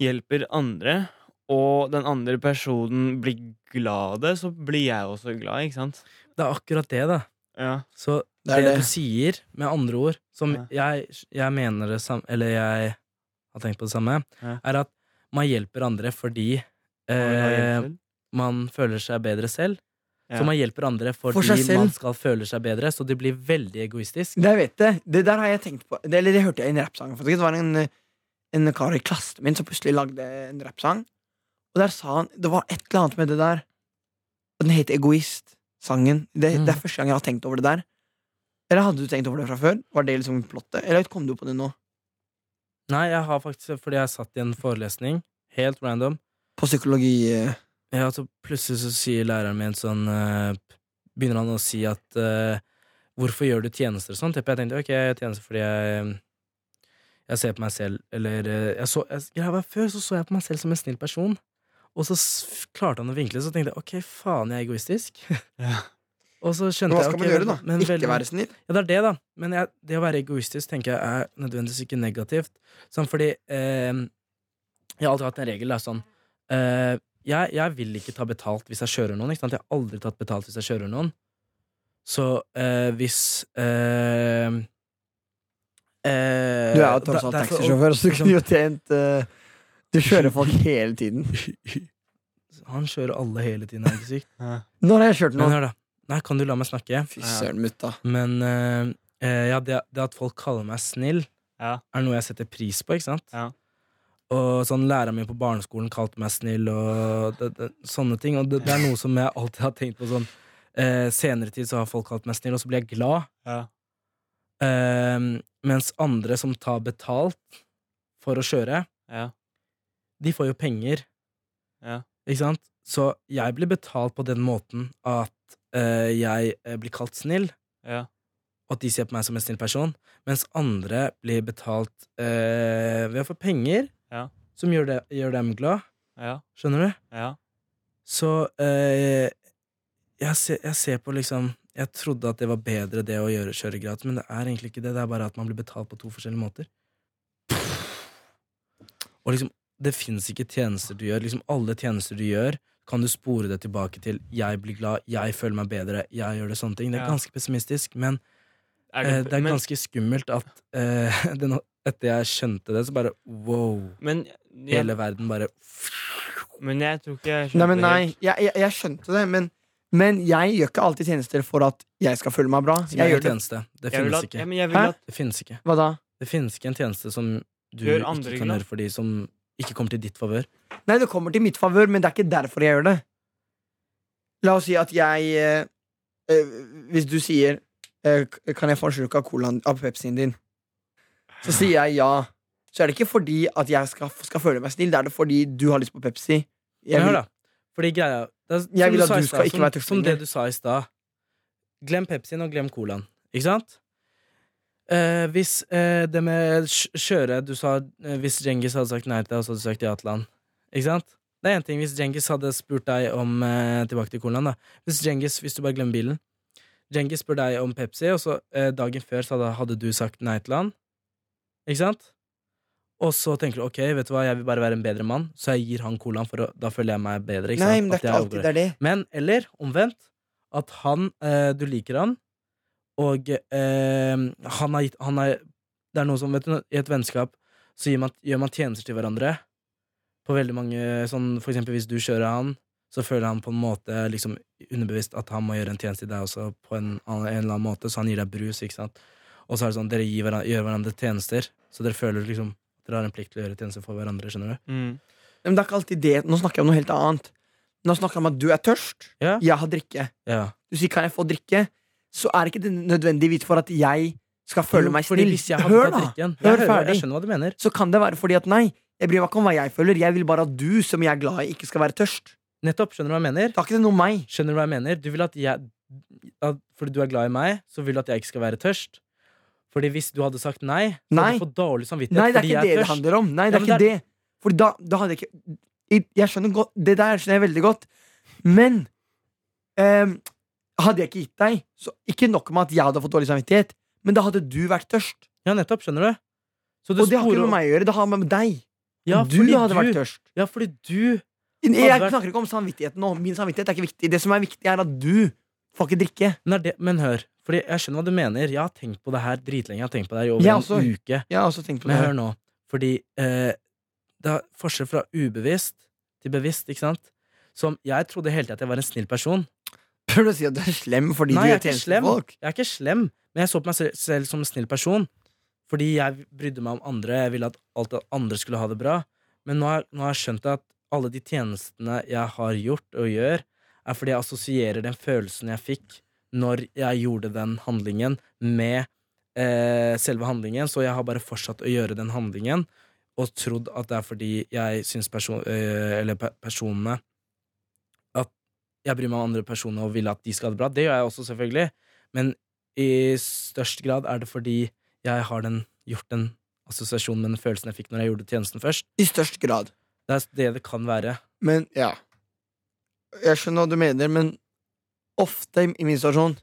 [SPEAKER 3] hjelper andre, og den andre personen blir glad av det, så blir jeg også glad, ikke sant?
[SPEAKER 4] Det er akkurat det, da.
[SPEAKER 3] Ja.
[SPEAKER 4] Så
[SPEAKER 2] Det
[SPEAKER 4] det,
[SPEAKER 2] er
[SPEAKER 4] du
[SPEAKER 2] det.
[SPEAKER 4] sier, med andre ord, som
[SPEAKER 3] Ja.
[SPEAKER 4] jeg, jeg mener det samme Eller jeg har tenkt på det samme,
[SPEAKER 3] Ja.
[SPEAKER 4] er at man hjelper andre fordi
[SPEAKER 3] Har du noe å hjelpe
[SPEAKER 4] eh,
[SPEAKER 3] til?
[SPEAKER 4] man føler seg bedre selv.
[SPEAKER 3] Ja.
[SPEAKER 4] Så man hjelper andre fordi
[SPEAKER 2] seg selv.
[SPEAKER 4] man skal føle seg bedre, så det blir veldig egoistisk.
[SPEAKER 2] Det jeg vet det. Det der har jeg tenkt på. Det, eller det hørte jeg i en rappsang. faktisk. Det var en, eh, en kar i klassen min som plutselig lagde en rappsang. Og der sa han Det var et eller annet med det der. Og den het Egoist, sangen. Det,
[SPEAKER 4] Mm.
[SPEAKER 2] det er første gang jeg har tenkt over det der. Eller hadde du tenkt over det fra før? Var det liksom plottet? Eller kom du på det nå?
[SPEAKER 4] Nei, jeg har faktisk fordi jeg satt i en forelesning, helt random,
[SPEAKER 2] På psykologi eh,
[SPEAKER 4] ja, så plutselig så sier læreren min sånn eh, Begynner han å si at eh, Hvorfor gjør du tjenester og sånn? Typ, Jeg tenkte ok, jeg gjør tjenester fordi jeg Jeg ser på meg selv, eller eh, jeg så, jeg, greia var Før så så jeg på meg selv som en snill person, og så s- klarte han å vinkle, så tenkte jeg ok, faen, jeg er egoistisk.
[SPEAKER 3] Ja.
[SPEAKER 4] Og så skjønte
[SPEAKER 2] Men hva
[SPEAKER 4] jeg
[SPEAKER 2] skal
[SPEAKER 4] ok,
[SPEAKER 2] man gjøre, da?
[SPEAKER 4] vel- men
[SPEAKER 2] Ikke
[SPEAKER 4] vel-
[SPEAKER 2] være snill?
[SPEAKER 4] Ja, det er det, da. Men jeg, det å være egoistisk tenker jeg er nødvendigvis ikke negativt. Sånn fordi eh, Jeg har alltid hatt en regel. Det er sånn eh, jeg, jeg vil ikke ta betalt hvis jeg kjører noen. Ikke sant? Jeg har aldri tatt betalt hvis jeg kjører noen. Så eh, hvis eh, eh,
[SPEAKER 2] Du er jo tross
[SPEAKER 4] der-
[SPEAKER 2] alt
[SPEAKER 4] derfor-
[SPEAKER 2] taxisjåfør, så du
[SPEAKER 4] liksom-
[SPEAKER 2] kunne jo tjent eh, Du kjører folk hele tiden.
[SPEAKER 4] Han kjører alle hele tiden, er det ikke sykt?
[SPEAKER 3] Ja.
[SPEAKER 2] Når har jeg kjørt
[SPEAKER 4] Men
[SPEAKER 2] noen?
[SPEAKER 4] hør, da. Nei, kan du la meg snakke?
[SPEAKER 2] Fy søren, mutta.
[SPEAKER 4] Men eh, eh, ja, det, det at folk kaller meg snill,
[SPEAKER 3] Ja.
[SPEAKER 4] er noe jeg setter pris på, ikke sant?
[SPEAKER 3] Ja.
[SPEAKER 4] Og sånn læreren min på barneskolen kalte meg snill, og det, det, sånne ting. Og det, det er noe som jeg alltid har tenkt på sånn eh, Senere tid så har folk kalt meg snill, og så blir jeg glad.
[SPEAKER 3] Ja.
[SPEAKER 4] Eh, mens andre som tar betalt for å kjøre,
[SPEAKER 3] Ja.
[SPEAKER 4] de får jo penger.
[SPEAKER 3] Ja.
[SPEAKER 4] Ikke sant? Så jeg blir betalt på den måten at eh, jeg eh, blir kalt snill.
[SPEAKER 3] Ja.
[SPEAKER 4] og at de ser på meg som en snill person, mens andre blir betalt eh, ved å få penger,
[SPEAKER 3] Ja.
[SPEAKER 4] som gjør, det, gjør dem glad.
[SPEAKER 3] Ja.
[SPEAKER 4] Skjønner du?
[SPEAKER 3] Ja.
[SPEAKER 4] Så eh, jeg, ser, jeg ser på liksom Jeg trodde at det var bedre det å gjøre kjøre gratis, men det er egentlig ikke det. Det er bare at man blir betalt på to forskjellige måter. Og liksom, det fins ikke tjenester du gjør. Liksom Alle tjenester du gjør, kan du spore det tilbake til 'jeg blir glad', 'jeg føler meg bedre', 'jeg gjør det' sånne ting. Det er
[SPEAKER 3] Ja.
[SPEAKER 4] ganske pessimistisk, men
[SPEAKER 3] Er
[SPEAKER 4] Eh, det er
[SPEAKER 3] men-
[SPEAKER 4] ganske skummelt at eh, det nå- etter jeg skjønte det, så bare wow.
[SPEAKER 3] Men,
[SPEAKER 4] Hele
[SPEAKER 3] jeg,
[SPEAKER 4] verden bare
[SPEAKER 3] men jeg tror ikke jeg
[SPEAKER 2] Nei,
[SPEAKER 3] skjønte
[SPEAKER 2] men
[SPEAKER 3] det
[SPEAKER 2] nei,
[SPEAKER 3] helt.
[SPEAKER 2] jeg, jeg, jeg skjønte det, men, men jeg gjør ikke alltid tjenester for at jeg skal føle meg bra.
[SPEAKER 4] Som
[SPEAKER 2] Jeg
[SPEAKER 4] er en
[SPEAKER 2] gjør det.
[SPEAKER 4] tjeneste. Det
[SPEAKER 3] Jeg vil
[SPEAKER 4] finnes
[SPEAKER 3] at, ja,
[SPEAKER 4] ikke.
[SPEAKER 3] men jeg
[SPEAKER 2] Hæ?
[SPEAKER 3] vil at
[SPEAKER 4] Det finnes ikke.
[SPEAKER 2] Hva da?
[SPEAKER 4] Det finnes ikke en tjeneste som du
[SPEAKER 3] Gjør
[SPEAKER 4] ikke
[SPEAKER 3] andre
[SPEAKER 4] kan
[SPEAKER 3] glad.
[SPEAKER 4] gjøre for de som ikke kommer til ditt favør.
[SPEAKER 2] Nei, det kommer til mitt favør, men det er ikke derfor jeg gjør det. La oss si at jeg eh, eh, Hvis du sier eh, k- Kan jeg få en slurk av colaen av Pepsien din? Så sier jeg ja. Så er det ikke fordi at jeg skal, skal føle meg snill, det er det fordi du har lyst på Pepsi. Jeg
[SPEAKER 4] Men hør,
[SPEAKER 2] vil,
[SPEAKER 4] da. Fordi greia det er, som
[SPEAKER 2] Jeg vil at
[SPEAKER 4] sa i
[SPEAKER 2] du skal
[SPEAKER 4] stad,
[SPEAKER 2] ikke
[SPEAKER 4] som,
[SPEAKER 2] være tøffing.
[SPEAKER 4] Som det du sa i stad. Glem Pepsien og glem Colaen. Ikke sant? Eh, hvis eh, det med kj- kjøre Du sa eh, hvis Djengis hadde sagt nei til deg, og så hadde du sagt ja til han. Ikke sant? Det er én ting hvis Djengis hadde spurt deg om eh, Tilbake til Colaen, da. Hvis Djengis, hvis du bare glemmer bilen Djengis spør deg om Pepsi, og så eh, dagen før så hadde, hadde du sagt nei til han. Ikke sant? Og så tenker du ok, vet du hva, jeg vil bare være en bedre mann, så jeg gir han colaen, for å, da føler jeg meg bedre. Ikke
[SPEAKER 2] nei, men
[SPEAKER 4] sant?
[SPEAKER 2] det er
[SPEAKER 4] At jeg
[SPEAKER 2] ikke alltid
[SPEAKER 4] overgår-
[SPEAKER 2] det er det.
[SPEAKER 4] men eller omvendt, at han eh, Du liker han, og eh, han har gitt han har, Det er noe som vet du, I et vennskap så gir man, gjør man tjenester til hverandre. På veldig mange sånn, For eksempel hvis du kjører han, så føler han på en måte liksom underbevisst at han må gjøre en tjeneste til deg også, på en, annen- en eller annen måte, så han gir deg brus, ikke sant. Og så er det sånn, dere gir hverandre, gjør hverandre tjenester, så dere føler liksom dere har en plikt til å gjøre tjenester for hverandre, skjønner du?
[SPEAKER 3] Mm.
[SPEAKER 2] Nei, Men det er ikke alltid det. Nå snakker jeg om noe helt annet. Nå snakker jeg om at du er tørst.
[SPEAKER 4] Ja.
[SPEAKER 2] Jeg har drikke.
[SPEAKER 4] Ja.
[SPEAKER 2] Du sier 'kan jeg få drikke', så er ikke det nødvendigvis for at jeg skal føle meg
[SPEAKER 4] Fordi
[SPEAKER 2] snill.
[SPEAKER 4] hvis jeg har
[SPEAKER 2] Hør,
[SPEAKER 4] tatt
[SPEAKER 2] da!
[SPEAKER 4] drikken-
[SPEAKER 2] Hør
[SPEAKER 4] Jeg hører,
[SPEAKER 2] ferdig.
[SPEAKER 4] jeg skjønner hva du mener.
[SPEAKER 2] Så kan det være fordi at nei, jeg bryr meg ikke om hva jeg føler. Jeg vil bare at du, som jeg er glad i, ikke skal være tørst.
[SPEAKER 4] Nettopp, skjønner du hva jeg mener?
[SPEAKER 2] Det har ikke det noe om meg.
[SPEAKER 4] Skjønner du hva jeg mener? Du vil at jeg at, Fordi du er glad i meg, så vil du at jeg ikke skal være tørst. Fordi hvis du hadde sagt nei, så
[SPEAKER 2] Nei.
[SPEAKER 4] hadde du fått dårlig samvittighet
[SPEAKER 2] Nei, det er
[SPEAKER 4] fordi
[SPEAKER 2] ikke
[SPEAKER 4] jeg
[SPEAKER 2] det
[SPEAKER 4] er
[SPEAKER 2] det
[SPEAKER 4] tørst.
[SPEAKER 2] handler om. Nei, det
[SPEAKER 4] Ja,
[SPEAKER 2] er
[SPEAKER 4] men
[SPEAKER 2] ikke det. For da, da hadde jeg ikke I- Jeg skjønner godt Det der skjønner jeg veldig godt. Men ehm, hadde jeg ikke gitt deg, så ikke nok med at jeg hadde fått dårlig samvittighet, men da hadde du vært tørst.
[SPEAKER 4] Ja, nettopp, skjønner du? Så du
[SPEAKER 2] Og det har
[SPEAKER 4] sporer-
[SPEAKER 2] ikke med meg å gjøre, det har med deg.
[SPEAKER 4] ja,
[SPEAKER 2] du
[SPEAKER 4] fordi
[SPEAKER 2] hadde vært tørst.
[SPEAKER 4] Ja, fordi du
[SPEAKER 2] Jeg
[SPEAKER 4] vært-
[SPEAKER 2] snakker ikke om samvittigheten nå. Min samvittighet er ikke viktig. Det som er viktig, er at du får ikke drikke.
[SPEAKER 4] Men, er det, men hør, fordi jeg skjønner hva du mener. Jeg har tenkt på det her dritlenge. Jeg har tenkt på det her i over
[SPEAKER 2] Jeg
[SPEAKER 4] en
[SPEAKER 2] også.
[SPEAKER 4] uke.
[SPEAKER 2] Jeg har også tenkt på det.
[SPEAKER 4] Men hør nå. Fordi eh, det er forskjell fra ubevisst til bevisst, ikke sant? Som jeg trodde hele tiden at jeg var en snill person.
[SPEAKER 2] Prøver du å si at du er slem fordi
[SPEAKER 4] Nei,
[SPEAKER 2] du gjør
[SPEAKER 4] jeg er ikke
[SPEAKER 2] tjeneste
[SPEAKER 4] slem.
[SPEAKER 2] for folk?
[SPEAKER 4] Jeg er ikke slem, men jeg så på meg se- selv som en snill person. Fordi jeg brydde meg om andre, jeg ville at alt at andre skulle ha det bra. Men nå har, nå har jeg skjønt at alle de tjenestene jeg har gjort og gjør, er fordi jeg assosierer den følelsen jeg fikk når jeg gjorde den handlingen, med eh, selve handlingen. Så jeg har bare fortsatt å gjøre den handlingen og trodd at det er fordi jeg syns person, eh, eller pe- personene At jeg bryr meg om andre personer og vil at de skal ha det bra. Det gjør jeg også, selvfølgelig. Men i størst grad er det fordi jeg har den, gjort den assosiasjonen med den følelsen jeg fikk når jeg gjorde tjenesten først.
[SPEAKER 2] I størst grad.
[SPEAKER 4] Det er det det kan være.
[SPEAKER 2] Men ja Jeg skjønner hva du mener, men ofte i i min situasjon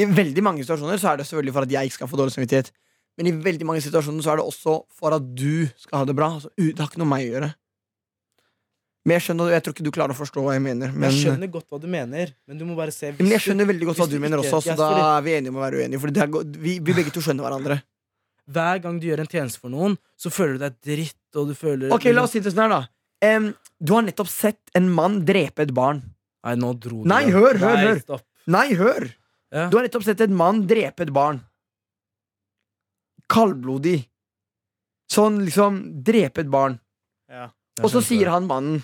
[SPEAKER 2] I veldig mange situasjoner så er det selvfølgelig for at jeg ikke skal få dårlig samvittighet. Men i veldig mange situasjoner så er det også for at du skal ha det bra. Altså, u- det har ikke noe med meg å gjøre. Men jeg skjønner, jeg tror ikke du klarer å forstå hva jeg mener. Men,
[SPEAKER 4] jeg skjønnner godt hva du mener, men du må bare se hvis
[SPEAKER 2] men jeg
[SPEAKER 4] du-
[SPEAKER 2] skjønner veldig godt hva
[SPEAKER 4] hvis
[SPEAKER 2] du
[SPEAKER 4] du
[SPEAKER 2] mener
[SPEAKER 4] ikke-
[SPEAKER 2] også, så
[SPEAKER 4] jeg-
[SPEAKER 2] da
[SPEAKER 4] fordi-
[SPEAKER 2] er vi enige om å være uenige. Fordi det er, go- vi, vi begge to skjønner hverandre.
[SPEAKER 4] Hver gang du gjør en tjeneste for noen, så føler du deg dritt, og du føler
[SPEAKER 2] Ok, La oss si det sånn her, da. Em, du har nettopp sett en mann drepe et barn.
[SPEAKER 4] Nei, nå dro du
[SPEAKER 2] Nei,
[SPEAKER 4] den.
[SPEAKER 2] hør, hør,
[SPEAKER 4] Nei,
[SPEAKER 2] hør.
[SPEAKER 4] stopp.
[SPEAKER 2] Nei, hør!
[SPEAKER 4] Ja.
[SPEAKER 2] Du har nettopp sett en mann drepe et barn. Kaldblodig. Sånn liksom drepe et barn.
[SPEAKER 3] Ja.
[SPEAKER 4] Jeg
[SPEAKER 2] Og så
[SPEAKER 4] skjønte det.
[SPEAKER 2] sier han mannen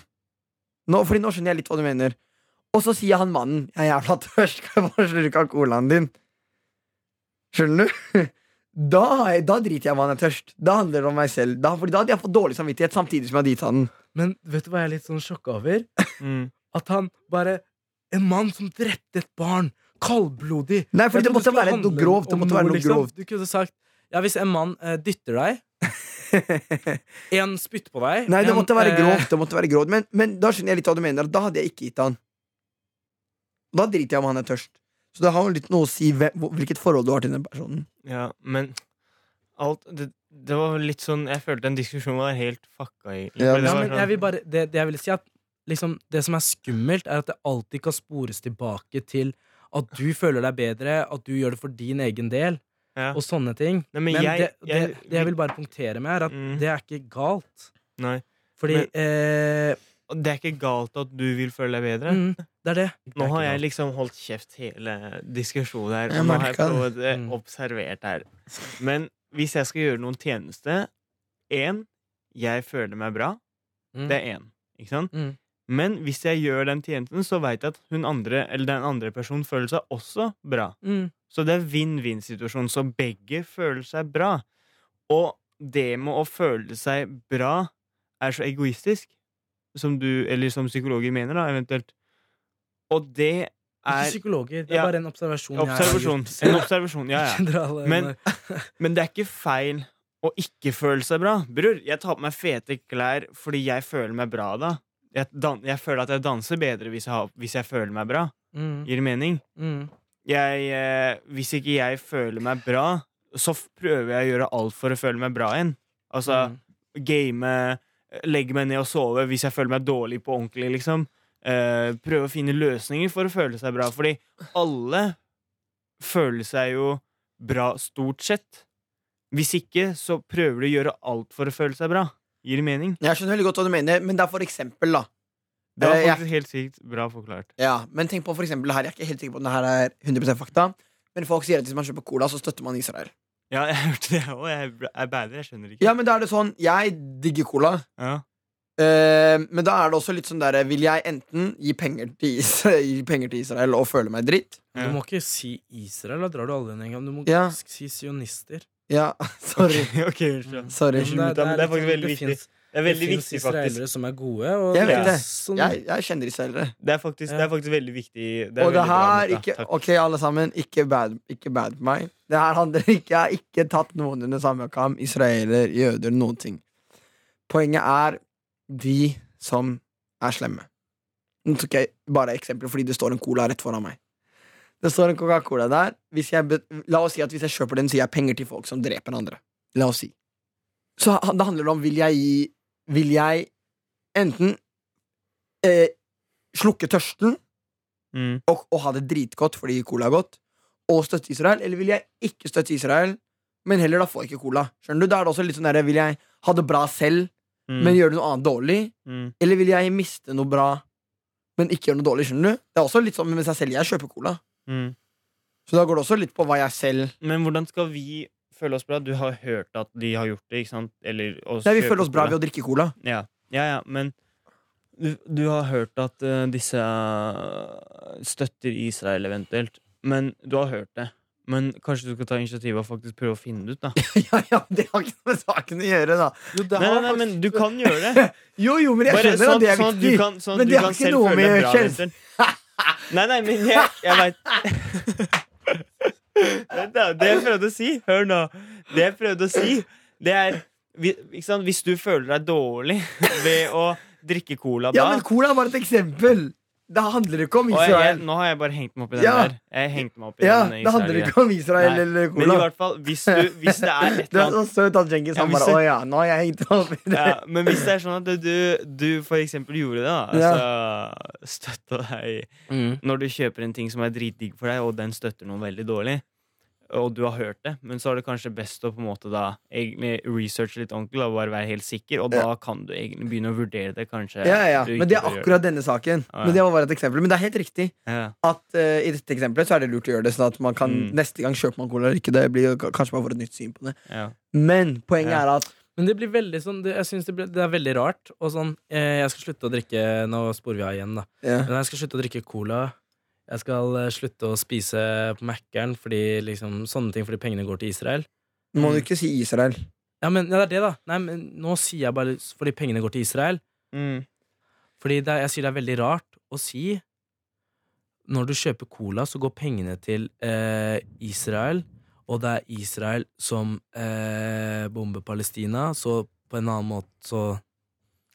[SPEAKER 2] nå, Fordi nå skjønner jeg litt hva du mener. Og så sier han mannen Jeg er jævla tørst, skal jeg bare slurke av colaen din? Skjønner du? Da, har jeg, da driter jeg om han er tørst. Da handler det om meg selv. Da, fordi da hadde jeg fått dårlig samvittighet samtidig som jeg hadde gitt han den.
[SPEAKER 4] Men vet du hva jeg er litt sånn sjokka over?
[SPEAKER 3] Mm.
[SPEAKER 4] At han bare En mann som drepte et barn! Kaldblodig!
[SPEAKER 2] Nei, fordi det
[SPEAKER 4] Jeg trodde
[SPEAKER 2] måtte
[SPEAKER 4] skulle
[SPEAKER 2] være noe
[SPEAKER 4] handle
[SPEAKER 2] grovt. Det
[SPEAKER 4] om
[SPEAKER 2] måtte være noe
[SPEAKER 4] liksom.
[SPEAKER 2] grovt.
[SPEAKER 4] Du kunne sagt ja, hvis en mann eh, dytter deg, en spytter på deg
[SPEAKER 2] Nei, det
[SPEAKER 4] en,
[SPEAKER 2] måtte være
[SPEAKER 4] eh,
[SPEAKER 2] grovt. Det måtte være grovt. Men, men da skjønner jeg litt hva du mener. at Da hadde jeg ikke gitt han. Da driter jeg om han er tørst. Så det har jo litt noe å si hvem, hvor- hvilket forhold du har til den personen.
[SPEAKER 3] Ja, men alt det, det var litt sånn Jeg følte den diskusjonen var helt fucka, egentlig.
[SPEAKER 2] Ja,
[SPEAKER 3] fordi det
[SPEAKER 4] Ja,
[SPEAKER 3] var
[SPEAKER 4] men
[SPEAKER 3] sånn-
[SPEAKER 4] jeg vil bare, det, det jeg vil si er at liksom, Det som er skummelt, er at det alltid kan spores tilbake til at du føler deg bedre, at du gjør det for din egen del,
[SPEAKER 3] Ja.
[SPEAKER 4] og sånne ting.
[SPEAKER 3] Nei, men
[SPEAKER 4] Men,
[SPEAKER 3] jeg,
[SPEAKER 4] det, det,
[SPEAKER 3] jeg,
[SPEAKER 4] det jeg vil bare punktere med, er at
[SPEAKER 3] Mm.
[SPEAKER 4] det er ikke galt.
[SPEAKER 3] Nei.
[SPEAKER 4] Fordi
[SPEAKER 3] Men-
[SPEAKER 4] eh,
[SPEAKER 3] Og Det er ikke galt at du vil føle deg bedre.
[SPEAKER 4] mm, Det er det. Det
[SPEAKER 3] Nå
[SPEAKER 4] er
[SPEAKER 3] har
[SPEAKER 4] ikke
[SPEAKER 3] jeg
[SPEAKER 4] galt.
[SPEAKER 3] liksom holdt kjeft hele diskusjonen her.
[SPEAKER 2] Jeg
[SPEAKER 3] Og nå har jeg
[SPEAKER 2] merker det.
[SPEAKER 3] prøvd eh,
[SPEAKER 4] Mm.
[SPEAKER 3] observert her. Men hvis jeg skal gjøre noen tjeneste Én, jeg føler meg bra.
[SPEAKER 4] Mm.
[SPEAKER 3] Det er én. Ikke sant?
[SPEAKER 4] Mm.
[SPEAKER 3] Men hvis jeg gjør den tjenesten, så veit jeg at hun andre, eller den andre personen føler seg også bra.
[SPEAKER 4] mm.
[SPEAKER 3] Så det er vinn-vinn-situasjon. Så begge føler seg bra. Og det med å føle seg bra er så egoistisk, som du, eller som psykologer mener, da, eventuelt. Og det
[SPEAKER 4] Ikke
[SPEAKER 3] er
[SPEAKER 4] psykologer, det er
[SPEAKER 3] Ja.
[SPEAKER 4] bare en observasjon.
[SPEAKER 3] observasjon.
[SPEAKER 4] Jeg
[SPEAKER 3] En
[SPEAKER 4] har gjort.
[SPEAKER 3] observasjon, ja, ja.
[SPEAKER 4] Generale-
[SPEAKER 3] Men- Men det er ikke feil å ikke føle seg bra. Bror, jeg tar på meg fete klær fordi jeg føler meg bra da. Jeg, dan jeg føler at jeg danser bedre hvis jeg, har, hvis jeg føler meg bra.
[SPEAKER 4] mm,
[SPEAKER 3] Gir det mening?
[SPEAKER 4] mm.
[SPEAKER 3] jeg, eh, hvis ikke jeg føler meg bra, så f- prøver jeg å gjøre alt for å føle meg bra igjen. Altså
[SPEAKER 4] Mm.
[SPEAKER 3] game, eh, legge meg ned og sove hvis jeg føler meg dårlig på ordentlig, liksom. Eh, prøve å finne løsninger for å føle seg bra, fordi alle føler seg jo bra stort sett. Hvis ikke, så prøver du å gjøre alt for å føle seg bra. Gir det mening?
[SPEAKER 2] Jeg skjønner veldig godt hva du mener, men det er for eksempel, da.
[SPEAKER 3] Det var
[SPEAKER 2] Eh, jeg-
[SPEAKER 3] faktisk helt sykt bra forklart.
[SPEAKER 2] Ja, men tenk på for eksempel her, jeg er ikke helt sikker på om det her er 100 fakta, men folk sier at hvis man kjøper cola, så støtter man Israel.
[SPEAKER 3] Ja, jeg hørte det òg. Jeg er jeg er bad, jeg skjønner ikke.
[SPEAKER 2] Ja, men da er det sånn, jeg digger cola.
[SPEAKER 3] Ja.
[SPEAKER 2] Eh, men da er det også litt sånn derre Vil jeg enten gi penger, til is gi penger til Israel og føle meg dritt?
[SPEAKER 4] Du må ikke si Israel, da drar du alle inn en gang. Du må
[SPEAKER 2] Ja.
[SPEAKER 4] si sionister.
[SPEAKER 2] Ja, sorry.
[SPEAKER 3] Ok, ok, unnskyld.
[SPEAKER 2] sorry.
[SPEAKER 3] men det- men er faktisk veldig viktig.
[SPEAKER 4] liksom- Finnes,
[SPEAKER 3] Det er veldig
[SPEAKER 4] det finnes
[SPEAKER 3] viktig, faktisk.
[SPEAKER 4] israelere som er gode, og
[SPEAKER 2] Jeg
[SPEAKER 3] vet
[SPEAKER 4] er
[SPEAKER 2] det.
[SPEAKER 4] sånn-
[SPEAKER 2] Jeg, jeg kjenner israelere.
[SPEAKER 3] Det er faktisk,
[SPEAKER 4] Ja.
[SPEAKER 3] det er faktisk veldig viktig. Det er
[SPEAKER 2] Og det
[SPEAKER 3] veldig bra,
[SPEAKER 2] her,
[SPEAKER 3] Mette.
[SPEAKER 2] ikke,
[SPEAKER 3] Takk.
[SPEAKER 2] ok alle sammen, ikke bad, ikke bad på meg. Det her handler ikke, Jeg har ikke tatt noen under samme kam. Israeler, jøder, noen ting. Poenget er de som er slemme. Nå tok jeg bare eksempler fordi det står en cola rett foran meg. Det står en Coca-Cola der. Hvis jeg, bet- la oss si at hvis jeg kjøper den, så gir jeg penger til folk som dreper andre. La oss si. Så han- det handler om vil jeg gi Vil jeg enten eh, slukke tørsten
[SPEAKER 3] Mm.
[SPEAKER 2] og, og ha det dritgodt fordi cola er godt, og støtte Israel? Eller vil jeg ikke støtte Israel, men heller da få ikke cola? Skjønner du? Da er det også litt sånn der, Vil jeg ha det bra selv,
[SPEAKER 3] Mm.
[SPEAKER 2] men gjøre noe annet dårlig?
[SPEAKER 3] mm.
[SPEAKER 2] Eller vil jeg miste noe bra, men ikke gjøre noe dårlig? Skjønner du? Det er også litt sånn med seg selv. Jeg kjøper cola.
[SPEAKER 3] Mm.
[SPEAKER 2] Så da går det også litt på hva jeg selv
[SPEAKER 3] Men hvordan skal vi føle oss bra? Du har hørt at de har gjort det, ikke sant? Eller, å
[SPEAKER 2] Nei, Vi
[SPEAKER 3] kjøpe
[SPEAKER 2] føler oss bra
[SPEAKER 3] cola.
[SPEAKER 2] ved å drikke cola.
[SPEAKER 3] Ja, ja, ja men du, du har hørt at eh, disse eh, støtter Israel eventuelt. Men du har hørt det. Men kanskje du skal ta initiativ og faktisk prøve å finne det ut, da.
[SPEAKER 2] ja, ja, Det har ikke noe med saken å gjøre, da.
[SPEAKER 1] Jo, det
[SPEAKER 3] Nei, nei,
[SPEAKER 1] har
[SPEAKER 3] nei, men
[SPEAKER 1] faktisk-
[SPEAKER 3] du kan gjøre det.
[SPEAKER 2] Jo, jo, men jeg
[SPEAKER 3] Bare
[SPEAKER 2] skjønner
[SPEAKER 3] sånn,
[SPEAKER 2] at det er
[SPEAKER 3] sånn at du
[SPEAKER 2] viktig.
[SPEAKER 3] kan, sånn at
[SPEAKER 2] men
[SPEAKER 3] du
[SPEAKER 2] det har
[SPEAKER 3] kan
[SPEAKER 2] ikke
[SPEAKER 3] selv
[SPEAKER 2] noe
[SPEAKER 3] føle
[SPEAKER 2] med
[SPEAKER 3] deg bra,
[SPEAKER 2] kjæreste-
[SPEAKER 3] Vincent. Nei, nei, men jeg, jeg veit Det er jo det jeg prøvde å si. Hør nå. Det jeg prøvde å si, det er vi- ikke sant? Hvis du føler deg dårlig ved å drikke cola da
[SPEAKER 2] Ja, men cola er bare et eksempel. Det handler ikke om
[SPEAKER 3] Og jeg, jeg,
[SPEAKER 2] Israel.
[SPEAKER 3] nå har jeg bare hengt meg opp i den
[SPEAKER 2] Ja.
[SPEAKER 3] der. Jeg hengte meg opp i
[SPEAKER 2] Ja,
[SPEAKER 3] den
[SPEAKER 2] Det handler
[SPEAKER 3] Israel-greia.
[SPEAKER 2] ikke om Israel
[SPEAKER 3] Nei,
[SPEAKER 2] eller
[SPEAKER 3] Men i
[SPEAKER 2] cola.
[SPEAKER 3] hvert fall, hvis, du, hvis det er et
[SPEAKER 2] Du
[SPEAKER 3] eller
[SPEAKER 2] er
[SPEAKER 3] annet
[SPEAKER 2] så søt at Djengis
[SPEAKER 3] Ja,
[SPEAKER 2] han
[SPEAKER 3] hvis
[SPEAKER 2] bare
[SPEAKER 3] det-
[SPEAKER 2] Å ja, nå har jeg hengt meg opp i det.
[SPEAKER 3] ja, Men hvis det er sånn at du, du for eksempel gjorde det, da altså, Støtta deg Når du kjøper en ting som er dritdigg for deg, og den støtter noen veldig dårlig, og du har hørt det, men så er det kanskje best å på en måte da egentlig researche litt ordentlig og bare være helt sikker, og da kan du egentlig begynne å vurdere det, kanskje.
[SPEAKER 2] Ja, ja,
[SPEAKER 3] du ikke
[SPEAKER 2] Men det er
[SPEAKER 3] bør gjøre
[SPEAKER 2] akkurat denne saken.
[SPEAKER 3] Ja, ja.
[SPEAKER 2] Men det var bare et eksempel Men det er helt riktig
[SPEAKER 3] Ja.
[SPEAKER 2] at eh, i dette eksempelet så er det lurt å gjøre det. Sånn at man kan
[SPEAKER 3] Mm.
[SPEAKER 2] neste gang kjøper man cola eller ikke. Det blir jo k- kanskje man får et nytt syn på det.
[SPEAKER 3] Ja.
[SPEAKER 2] Men poenget
[SPEAKER 3] Ja.
[SPEAKER 2] er at
[SPEAKER 4] Men det blir veldig sånn det, Jeg synes det, blir, det er veldig rart. Og sånn eh, Jeg skal slutte å drikke Nå sporer vi av igjen, da.
[SPEAKER 2] ja.
[SPEAKER 4] Men jeg skal slutte å drikke cola. Jeg skal eh, slutte å spise på Mækkern fordi liksom sånne ting fordi pengene går til Israel.
[SPEAKER 2] Må du ikke si Israel.
[SPEAKER 4] Ja, men ja, det er det, da. Nei, men nå sier jeg bare fordi pengene går til Israel.
[SPEAKER 3] Mm.
[SPEAKER 4] Fordi det, er- jeg sier det er veldig rart å si Når du kjøper cola, så går pengene til eh, Israel, og det er Israel som eh, bomber Palestina, så på en annen måte så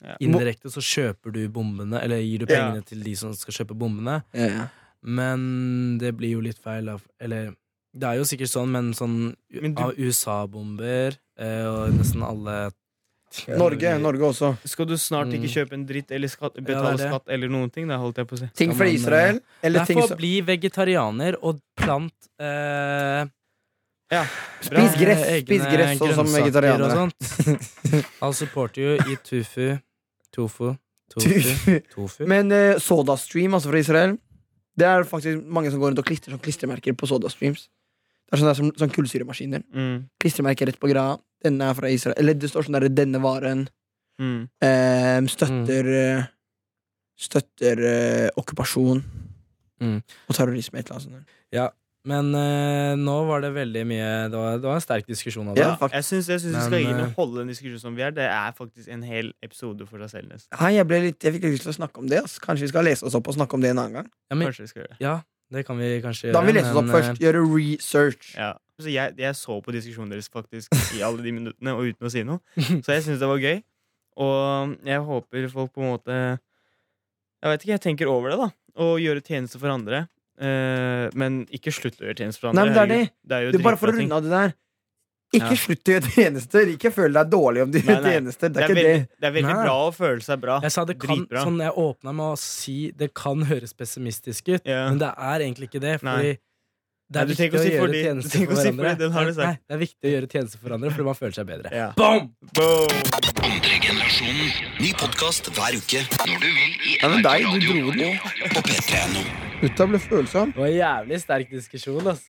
[SPEAKER 3] Ja.
[SPEAKER 4] Indirekte så kjøper du bombene, eller gir du
[SPEAKER 3] Ja.
[SPEAKER 4] pengene til de som skal kjøpe bombene.
[SPEAKER 2] Ja, ja.
[SPEAKER 4] Men det blir jo litt feil av Eller det er jo sikkert sånn, men sånn u-
[SPEAKER 3] Men du-
[SPEAKER 4] av USA-bomber eh, og nesten alle
[SPEAKER 2] Norge, Norge også.
[SPEAKER 3] Skal du snart ikke
[SPEAKER 4] Mm.
[SPEAKER 3] kjøpe en dritt eller skatt,
[SPEAKER 4] det er
[SPEAKER 3] betale
[SPEAKER 4] det.
[SPEAKER 3] skatt eller noen ting? Da holdt jeg på å si.
[SPEAKER 2] Ting
[SPEAKER 4] Ja,
[SPEAKER 2] fra
[SPEAKER 4] men, eh,
[SPEAKER 2] Israel. Eller ting
[SPEAKER 4] Derfor
[SPEAKER 2] som
[SPEAKER 4] bli vegetarianer og plant eh,
[SPEAKER 3] Ja, bra.
[SPEAKER 2] Spis gress,
[SPEAKER 4] eh,
[SPEAKER 2] spis
[SPEAKER 4] egne
[SPEAKER 2] gress, sånn som
[SPEAKER 4] grønnsaker
[SPEAKER 2] vegetarianere.
[SPEAKER 4] og sånt. I'll support you i tufu. Tofu. Tofu.
[SPEAKER 2] Du-
[SPEAKER 4] tofu.
[SPEAKER 2] Men eh, SodaStream, altså fra Israel Det er faktisk mange som går rundt og klistrer sånn klistremerker på SodaStreams. Det er sånn, det er som, sånn kullsyremaskiner.
[SPEAKER 3] Mm.
[SPEAKER 2] Klistremerker rett på greia. Denne er fra Israel. Eller det står sånn der 'denne varen
[SPEAKER 3] Mm.
[SPEAKER 2] eh, støtter eh, Støtter eh, okkupasjon
[SPEAKER 4] Mm.
[SPEAKER 2] og terrorisme. Et eller annet sånt.
[SPEAKER 4] Men eh, nå var det veldig mye Det var, det var en sterk diskusjon av det.
[SPEAKER 2] Ja, faktisk.
[SPEAKER 3] Jeg syns jeg syns vi skal
[SPEAKER 4] Men,
[SPEAKER 3] egentlig
[SPEAKER 4] eh,
[SPEAKER 3] holde den diskusjonen som vi er. Det er faktisk en hel episode for seg selv. nesten
[SPEAKER 2] Hei, jeg, ble litt, jeg fikk litt lyst til å snakke om det. Ass. Kanskje vi skal lese oss opp og snakke om det en annen gang?
[SPEAKER 4] Men-
[SPEAKER 3] Kanskje vi skal gjøre det.
[SPEAKER 4] Ja, det kan vi kanskje gjøre.
[SPEAKER 2] Da må vi lese oss opp
[SPEAKER 4] men, eh,
[SPEAKER 2] først. Gjøre research.
[SPEAKER 3] Ja. Så jeg, jeg så på diskusjonen deres faktisk i alle de minuttene, og uten å si noe. Så jeg syns det var gøy. Og um, jeg håper folk på en måte Jeg vet ikke, jeg tenker over det, da. Å gjøre tjeneste for andre. Eh, men ikke slutt å gjøre tjeneste for
[SPEAKER 2] Nei,
[SPEAKER 3] andre.
[SPEAKER 2] men det er det.
[SPEAKER 3] Herregud, det er jo
[SPEAKER 2] Du, bare for å
[SPEAKER 3] dritbra ting.
[SPEAKER 2] runde av det der. Ikke
[SPEAKER 3] Ja.
[SPEAKER 2] slutt å gjøre tjenester. Ikke føl deg dårlig om du gjør
[SPEAKER 3] Nei, nei.
[SPEAKER 2] tjenester. Det
[SPEAKER 3] Det
[SPEAKER 2] er
[SPEAKER 3] er
[SPEAKER 2] ikke det.
[SPEAKER 3] veldig, det er veldig
[SPEAKER 4] Nei.
[SPEAKER 3] bra å føle seg bra.
[SPEAKER 4] Jeg sa det kan,
[SPEAKER 3] Dritbra.
[SPEAKER 4] sånn jeg åpna med å si det kan høres pessimistisk ut,
[SPEAKER 3] Ja.
[SPEAKER 4] men det er egentlig ikke det.
[SPEAKER 3] Nei.
[SPEAKER 4] Fordi det
[SPEAKER 3] Nei,
[SPEAKER 4] er
[SPEAKER 3] du trenger ikke
[SPEAKER 4] viktig
[SPEAKER 3] å
[SPEAKER 4] å
[SPEAKER 3] si
[SPEAKER 4] gjøre
[SPEAKER 3] fordi- du
[SPEAKER 4] tjenester
[SPEAKER 3] trenger
[SPEAKER 4] for
[SPEAKER 3] ikke å si
[SPEAKER 4] hverandre.
[SPEAKER 3] fordi, den har du sagt.
[SPEAKER 4] Nei, det er viktig å gjøre tjenester for hverandre fordi man føler seg bedre.
[SPEAKER 3] Ja.
[SPEAKER 4] Boom!
[SPEAKER 3] Boom!
[SPEAKER 5] Andregenerasjonen. Ny podkast hver uke. Når du vil i
[SPEAKER 2] Ja, men
[SPEAKER 5] NRK
[SPEAKER 2] deg, du
[SPEAKER 5] Radio
[SPEAKER 2] dro den jo.
[SPEAKER 5] på P3.no.
[SPEAKER 2] Gutta ble følsom.
[SPEAKER 4] Det var en jævlig sterk diskusjon, ass.